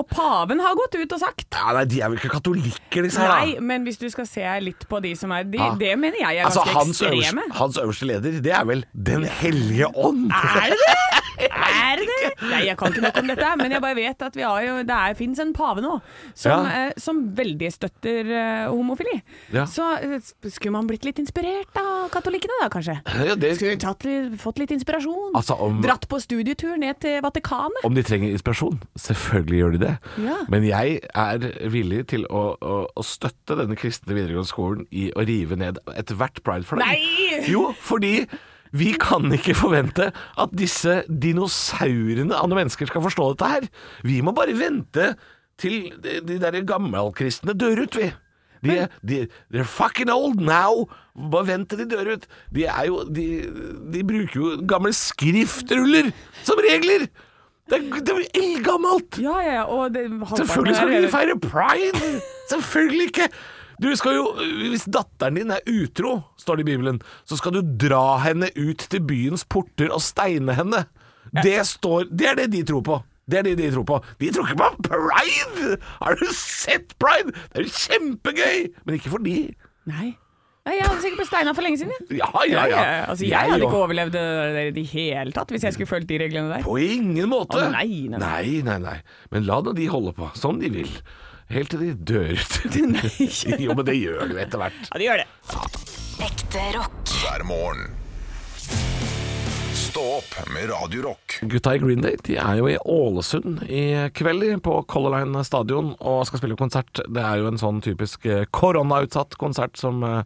[SPEAKER 4] Og paven har gått ut og sagt
[SPEAKER 3] Ja, nei, De er jo ikke katolikker, disse her, da.
[SPEAKER 4] Nei, men hvis du skal se litt på de som er de,
[SPEAKER 3] Ja.
[SPEAKER 4] Det mener jeg er
[SPEAKER 3] Altså,
[SPEAKER 4] ganske
[SPEAKER 3] hans, øverste,
[SPEAKER 4] ekstreme.
[SPEAKER 3] hans øverste leder, det er vel Den hellige ånd? Er det
[SPEAKER 4] Er det? Nei, jeg kan ikke nok om dette, men jeg bare vet at vi har jo, det fins en pave nå som,
[SPEAKER 3] Ja.
[SPEAKER 4] eh, som veldig støtter eh, homofili.
[SPEAKER 3] Ja.
[SPEAKER 4] Så eh, skulle man blitt litt inspirert av katolikkene da, kanskje?
[SPEAKER 3] Ja, det-
[SPEAKER 4] Skulle vi tatt, litt- fått litt inspirasjon?
[SPEAKER 3] Altså, om-
[SPEAKER 4] Dratt på studietur ned til Vatikanet?
[SPEAKER 3] Om de trenger inspirasjon? Selvfølgelig gjør de det.
[SPEAKER 4] Ja.
[SPEAKER 3] Men jeg er villig til å, å, å støtte denne kristne videregående skolen i å rive ned ethvert prideflagg.
[SPEAKER 4] Nei!
[SPEAKER 3] Jo, fordi vi kan ikke forvente at disse dinosaurene av mennesker skal forstå dette her. Vi må bare vente til de, de der gammelkristne dør ut, vi. De, de, they're fucking old now! Bare vent til de dør ut. De er jo De, de bruker jo gamle skriftruller som regler! Det er, det er eldgammelt!
[SPEAKER 4] Ja, ja, ja. Og det,
[SPEAKER 3] Selvfølgelig skal
[SPEAKER 4] halvparten
[SPEAKER 3] ikke
[SPEAKER 4] er-
[SPEAKER 3] du feire pride! Selvfølgelig ikke! Du skal jo, Hvis datteren din er utro, står det i Bibelen, så skal du dra henne ut til byens porter og steine henne. Det, står, det er det de tror på. Det er det de tror på. De tror ikke på pride! Har du sett pride? Det er jo kjempegøy! Men ikke for de.
[SPEAKER 4] Nei. Nei, jeg hadde sikkert blitt steina for lenge siden. jeg.
[SPEAKER 3] Ja, ja, ja.
[SPEAKER 4] Altså, jeg, hadde
[SPEAKER 3] og-
[SPEAKER 4] ikke overlevd det der i det hele tatt hvis jeg skulle fulgt de reglene <laughs> der.
[SPEAKER 3] På ingen måte!
[SPEAKER 4] Å, nei, nei, nei.
[SPEAKER 3] nei, nei, nei. Men la nå de holde på som de vil. Helt til de dør ut. <laughs> jo, men det gjør du etter hvert.
[SPEAKER 4] Ja, de gjør det.
[SPEAKER 6] Ekte rock.
[SPEAKER 2] hver morgen. Stå opp med Radio Rock.
[SPEAKER 3] Gutta i Green Day de er jo i Ålesund i kveld de, på Color Line stadion og skal spille konsert. Det er jo en sånn typisk eh, koronautsatt konsert som eh,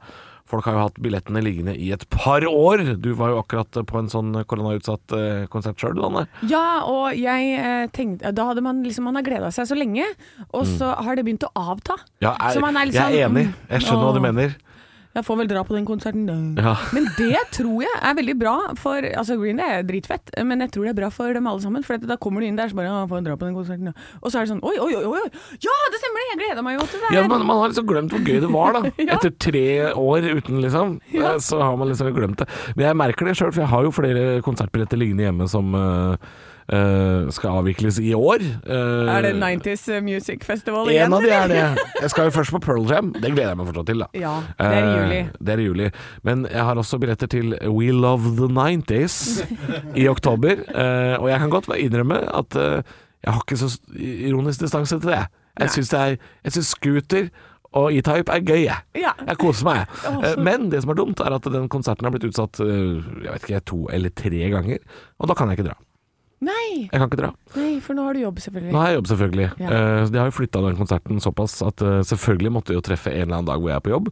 [SPEAKER 3] folk har jo hatt billettene liggende i et par år. Du var jo akkurat eh, på en sånn koronautsatt eh, konsert sjøl, du Anne.
[SPEAKER 4] Ja, og jeg eh, tenkte Da hadde man liksom Man har gleda seg så lenge, og så har det begynt å avta.
[SPEAKER 3] Mm. Ja,
[SPEAKER 4] så man
[SPEAKER 3] jeg,
[SPEAKER 4] litt
[SPEAKER 3] jeg er
[SPEAKER 4] sånn,
[SPEAKER 3] enig.
[SPEAKER 4] mm,
[SPEAKER 3] Jeg skjønner hva du
[SPEAKER 4] åh.
[SPEAKER 3] mener.
[SPEAKER 4] Jeg får vel dra på den konserten, da.
[SPEAKER 3] Ja.
[SPEAKER 4] Men det tror jeg er veldig bra for Altså Green Day er dritfett, men jeg tror det er bra for dem alle sammen. For at da kommer du inn der så bare ja, får jeg dra på den konserten, ja. Og så er det sånn oi, oi, oi, oi. Ja, det stemmer det! Jeg gleda meg jo til det her.
[SPEAKER 3] Ja, man, man har liksom glemt hvor gøy det var, da.
[SPEAKER 4] <laughs> Ja.
[SPEAKER 3] Etter tre år uten, liksom.
[SPEAKER 4] Ja.
[SPEAKER 3] eh, Så har man liksom glemt det. Men jeg merker det sjøl, for jeg har jo flere konsertbilletter liggende hjemme som eh, eh, skal avvikles i år. Eh,
[SPEAKER 4] Er det 90s Music Festival igjen?
[SPEAKER 3] En av de
[SPEAKER 4] eller?
[SPEAKER 3] er det. Jeg skal jo først på Pearl Jam. Det gleder jeg meg fortsatt til, da.
[SPEAKER 4] Ja, det er i
[SPEAKER 3] Eh,
[SPEAKER 4] juli.
[SPEAKER 3] Det er i juli. Men jeg har også billetter til We Love the 90s i oktober. eh, og jeg kan godt innrømme at eh, jeg har ikke så ironisk distanse til det. Jeg syns det er Jeg syns Scooter og E-Type er gøy, jeg.
[SPEAKER 4] Ja.
[SPEAKER 3] Jeg koser meg. Eh, Men det som er dumt, er at den konserten har blitt utsatt eh, Jeg vet ikke, to eller tre ganger. Og da kan jeg ikke dra.
[SPEAKER 4] Nei,
[SPEAKER 3] Jeg kan ikke dra.
[SPEAKER 4] nei, for nå har du jobb,
[SPEAKER 3] Nå
[SPEAKER 4] selvfølgelig.
[SPEAKER 3] har jeg jobb, selvfølgelig.
[SPEAKER 4] Ja.
[SPEAKER 3] Eh, så de har jo flytta den konserten såpass at eh, selvfølgelig måtte jeg jo treffe en eller annen dag hvor jeg er på jobb.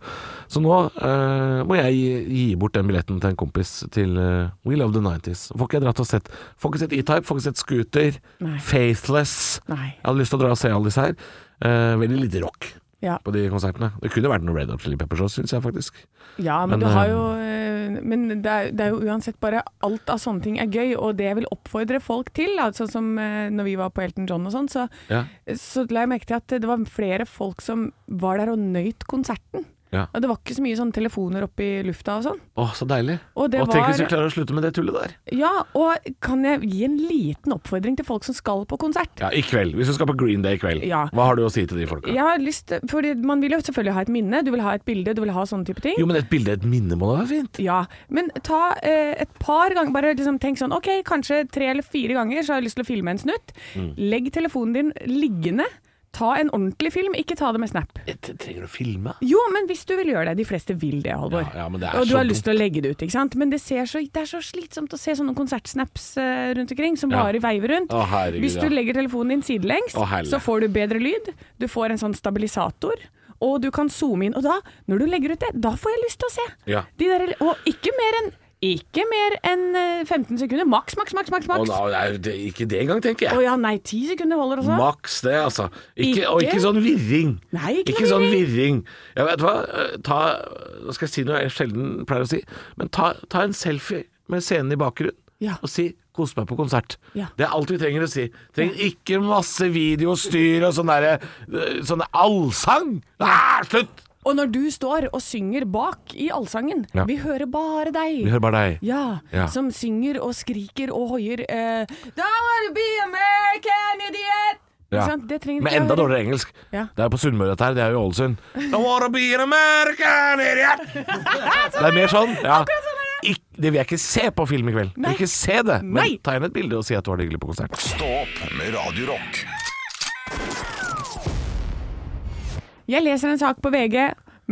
[SPEAKER 3] Så nå eh, må jeg gi, gi bort den billetten til en kompis til eh, We Love the 90s. Får ikke jeg dratt og sett Får ikke sett E-Type, får ikke sett Scooter,
[SPEAKER 4] Nei.
[SPEAKER 3] Faithless
[SPEAKER 4] Nei.
[SPEAKER 3] Jeg hadde lyst til å dra og se alle disse her. Eh, veldig lite rock
[SPEAKER 4] Ja.
[SPEAKER 3] på de konsertene. Det kunne vært noe Red Hot Chili Peppers òg, syns jeg faktisk.
[SPEAKER 4] Ja, men,
[SPEAKER 3] Men,
[SPEAKER 4] du har
[SPEAKER 3] eh,
[SPEAKER 4] jo eh, Men det er, det er jo uansett bare alt av sånne ting er gøy, og det jeg vil oppfordre folk til, da, sånn som eh, når vi var på Elton John og sånn, så,
[SPEAKER 3] Ja.
[SPEAKER 4] så la jeg merke til at det var flere folk som var der og nøyt konserten.
[SPEAKER 3] Ja.
[SPEAKER 4] Og det var ikke så mye sånn telefoner opp i lufta og sånn.
[SPEAKER 3] Å, så deilig.
[SPEAKER 4] Og det
[SPEAKER 3] Og tenk hvis
[SPEAKER 4] var-
[SPEAKER 3] vi klarer å slutte med det tullet der.
[SPEAKER 4] Ja, og kan jeg gi en liten oppfordring til folk som skal på konsert?
[SPEAKER 3] Ja, i kveld. Hvis du skal på Green Day i kveld,
[SPEAKER 4] Ja.
[SPEAKER 3] hva har du å si til de folka?
[SPEAKER 4] Jeg har lyst, fordi Man vil jo selvfølgelig ha et minne, du vil ha et bilde, du vil ha sånne type ting.
[SPEAKER 3] Jo, men et bilde, et minne må da være fint?
[SPEAKER 4] Ja, Men ta eh, et par ganger, bare liksom tenk sånn OK, kanskje tre eller fire ganger så har jeg lyst til å filme en snutt. Legg telefonen din liggende. Ta en ordentlig film, ikke ta det med Snap.
[SPEAKER 3] Trenger du å filme?
[SPEAKER 4] Jo, men hvis du vil gjøre det. De fleste vil det, Halvor.
[SPEAKER 3] Ja, ja, men det er
[SPEAKER 4] og du
[SPEAKER 3] så
[SPEAKER 4] har lyst til å legge det ut, ikke sant. Men det, ser så, det er så slitsomt å se sånne konsertsnaps eh, rundt omkring som
[SPEAKER 3] Ja.
[SPEAKER 4] bare veiver rundt.
[SPEAKER 3] Å, herregud,
[SPEAKER 4] hvis du
[SPEAKER 3] ja.
[SPEAKER 4] legger telefonen din sidelengs,
[SPEAKER 3] Å, helle.
[SPEAKER 4] så får du bedre lyd. Du får en sånn stabilisator. Og du kan zoome inn. Og da, når du legger ut det, da får jeg lyst til å se.
[SPEAKER 3] Ja.
[SPEAKER 4] De der, og ikke mer enn ikke mer enn eh, 15 sekunder. Maks, maks, maks, maks.
[SPEAKER 3] Å,
[SPEAKER 4] maks. Å
[SPEAKER 3] nei, det er- det, ikke det engang, tenker jeg.
[SPEAKER 4] ja, nei, 10 sekunder holder også.
[SPEAKER 3] Maks det, altså. Ikke, Og
[SPEAKER 4] Ikke?
[SPEAKER 3] ikke sånn virring.
[SPEAKER 4] Nei, ikke noe
[SPEAKER 3] sånn virring. Ja, vet du hva, Eh, ta, nå skal jeg si noe jeg sjelden pleier å si, men ta, ta en selfie med scenen i bakgrunnen.
[SPEAKER 4] Ja.
[SPEAKER 3] Og si 'kos meg på konsert'.
[SPEAKER 4] Ja.
[SPEAKER 3] Det er alt vi trenger å si. Trenger ikke masse videostyr og sånn derre øh, Sånne allsang! Ah, slutt!
[SPEAKER 4] Og når du står og synger bak i allsangen,
[SPEAKER 3] Ja.
[SPEAKER 4] vi hører bare deg.
[SPEAKER 3] Vi hører bare deg.
[SPEAKER 4] Ja,
[SPEAKER 3] Ja.
[SPEAKER 4] som synger og skriker og hoier eh, Da wanna be American idiot!
[SPEAKER 3] Ja.
[SPEAKER 4] Ikke sant? Det trenger
[SPEAKER 3] Med
[SPEAKER 4] ikke jeg
[SPEAKER 3] enda
[SPEAKER 4] høre.
[SPEAKER 3] dårligere engelsk.
[SPEAKER 4] Ja.
[SPEAKER 3] Det er jo på Sunnmøre, dette her. Det er jo i Ålesund. I wanna be an American
[SPEAKER 4] <laughs>
[SPEAKER 3] idiot! Det er mer sånn. Ja. Ikk, det vil jeg ikke se på film i kveld. Jeg
[SPEAKER 4] Nei.
[SPEAKER 3] vil ikke se det. Men
[SPEAKER 4] Nei.
[SPEAKER 3] ta igjen et bilde og si at du har det hyggelig på konsert.
[SPEAKER 2] Stå opp med Radio Rock.
[SPEAKER 4] Jeg leser en sak på VG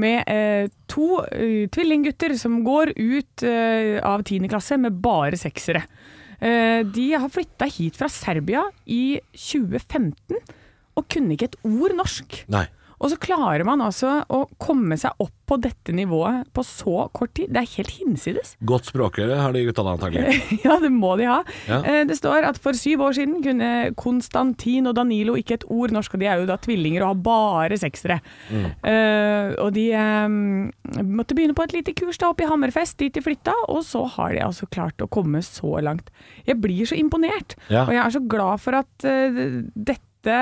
[SPEAKER 4] med eh, to eh, tvillinggutter som går ut eh, av 10. klasse med bare seksere. Eh, de har flytta hit fra Serbia i 2015 og kunne ikke et ord norsk.
[SPEAKER 3] Nei.
[SPEAKER 4] Og så klarer man altså å komme seg opp på dette nivået på så kort tid. Det er helt hinsides.
[SPEAKER 3] Godt språkøre har de gutta da antagelig.
[SPEAKER 4] <laughs> Ja, det må de ha.
[SPEAKER 3] Ja.
[SPEAKER 4] Eh, Det står at for syv år siden kunne Konstantin og Danilo ikke et ord norsk, og de er jo da tvillinger og har bare seksere.
[SPEAKER 3] Mm.
[SPEAKER 4] Eh, og de eh, måtte begynne på et lite kurs da oppe i Hammerfest, dit de flytta, og så har de altså klart å komme så langt. Jeg blir så imponert,
[SPEAKER 3] Ja.
[SPEAKER 4] og jeg er så glad for at eh, dette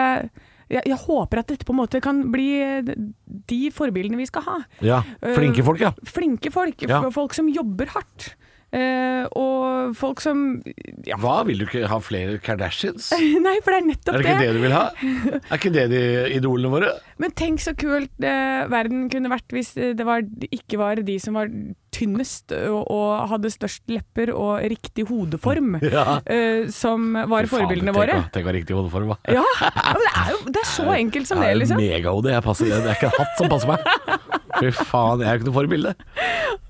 [SPEAKER 4] jeg, jeg håper at dette på en måte kan bli eh, de forbildene vi skal ha
[SPEAKER 3] <laughs> Ja. Flinke folk, ja.
[SPEAKER 4] flinke folk,
[SPEAKER 3] Ja.
[SPEAKER 4] f- folk som jobber hardt. eh, og folk som ja,
[SPEAKER 3] Hva, vil du ikke ha flere
[SPEAKER 4] <laughs>
[SPEAKER 3] Kardashians?
[SPEAKER 4] Nei, for det er nettopp
[SPEAKER 3] Er det
[SPEAKER 4] det.
[SPEAKER 3] ikke det du vil ha? Er ikke det de idolene våre?
[SPEAKER 4] Men tenk så kult eh, verden kunne vært hvis eh, det var, ikke var de som var tynnest og, og hadde størst lepper og riktig hodeform,
[SPEAKER 3] <laughs> Ja.
[SPEAKER 4] eh, som var
[SPEAKER 3] Fy faen,
[SPEAKER 4] forbildene
[SPEAKER 3] tenk
[SPEAKER 4] våre.
[SPEAKER 3] hva- Tenk hva riktig hodeform, da.
[SPEAKER 4] Ja, men det er jo det er så enkelt som det,
[SPEAKER 3] Jeg <laughs> er
[SPEAKER 4] liksom.
[SPEAKER 3] Megahode. Jeg passer det. Det er ikke en hatt som
[SPEAKER 4] <laughs>
[SPEAKER 3] passer meg. Fy faen, jeg er jo ikke noe forbilde.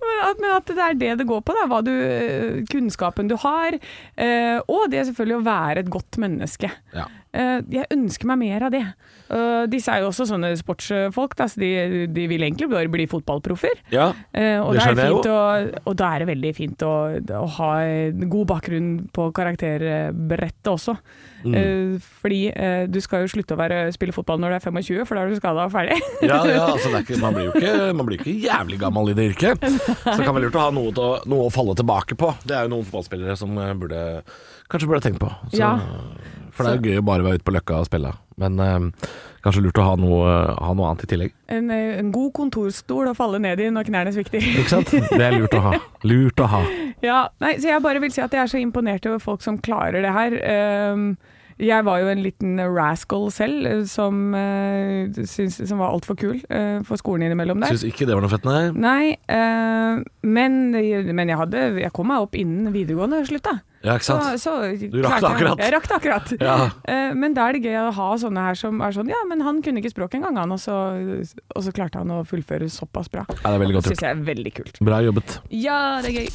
[SPEAKER 4] Men at, men at det er det det går på, da. Hva du, eh, kunnskapen du har. eh, og det er selvfølgelig å være et godt menneske.
[SPEAKER 3] Ja.
[SPEAKER 4] Eh, jeg ønsker meg mer av det. Eh, disse er jo også sånne sportsfolk, da, så de, de vil egentlig bare bli fotballproffer.
[SPEAKER 3] Ja,
[SPEAKER 4] Eh, og,
[SPEAKER 3] det
[SPEAKER 4] da er
[SPEAKER 3] skjønner
[SPEAKER 4] det
[SPEAKER 3] jeg
[SPEAKER 4] fint å, og da er det veldig fint å, å ha en god bakgrunn på karakterbrettet også.
[SPEAKER 3] Mm.
[SPEAKER 4] Eh, fordi eh, du skal jo slutte å være, spille fotball når du er 25, for da er du skada og ferdig. <laughs>
[SPEAKER 3] Ja, ja altså det er ikke, man, blir jo ikke, man blir jo ikke jævlig gammel i det
[SPEAKER 4] <laughs>
[SPEAKER 3] yrket. Så det kan være lurt å ha noe, til å- noe å falle tilbake på. Det er jo noen fotballspillere som eh, burde, kanskje burde tenkt på. Så,
[SPEAKER 4] Ja.
[SPEAKER 3] For det er jo gøy å bare være ute på løkka og spille. Men eh, kanskje lurt å ha noe, ha noe annet i tillegg.
[SPEAKER 4] En, eh, en god kontorstol å falle ned i når knærne svikter.
[SPEAKER 3] Ikke sant? Det er lurt å ha. Lurt å ha.
[SPEAKER 4] <laughs> Ja, nei, så jeg bare vil si at jeg er så imponert over folk som klarer det her. Ehm, jeg var jo en liten rascal selv, eh, som, eh, syns- som var altfor kul eh, for skolen innimellom der.
[SPEAKER 3] Syns ikke det var noe fett, nei.
[SPEAKER 4] Nei, eh, men, men jeg, hadde, jeg kom meg opp innen videregående slutta.
[SPEAKER 3] Ja, ikke
[SPEAKER 4] Så,
[SPEAKER 3] sant?
[SPEAKER 4] så
[SPEAKER 3] Du rakk det
[SPEAKER 4] klarte jeg-
[SPEAKER 3] akkurat.
[SPEAKER 4] Jeg rakk det akkurat.
[SPEAKER 3] <laughs> Ja.
[SPEAKER 4] Eh, men da er det gøy å ha sånne her som er sånn Ja, men han kunne ikke språket engang, han, og så, og så klarte han å fullføre såpass bra.
[SPEAKER 3] Ja, det er veldig godt
[SPEAKER 4] Det syns
[SPEAKER 3] gjort.
[SPEAKER 4] jeg er veldig kult.
[SPEAKER 3] Bra jobbet.
[SPEAKER 4] Ja, det er gøy.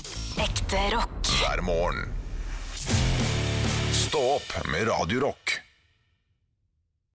[SPEAKER 6] Ekte rock.
[SPEAKER 2] hver morgen. Stå opp med Radio Rock.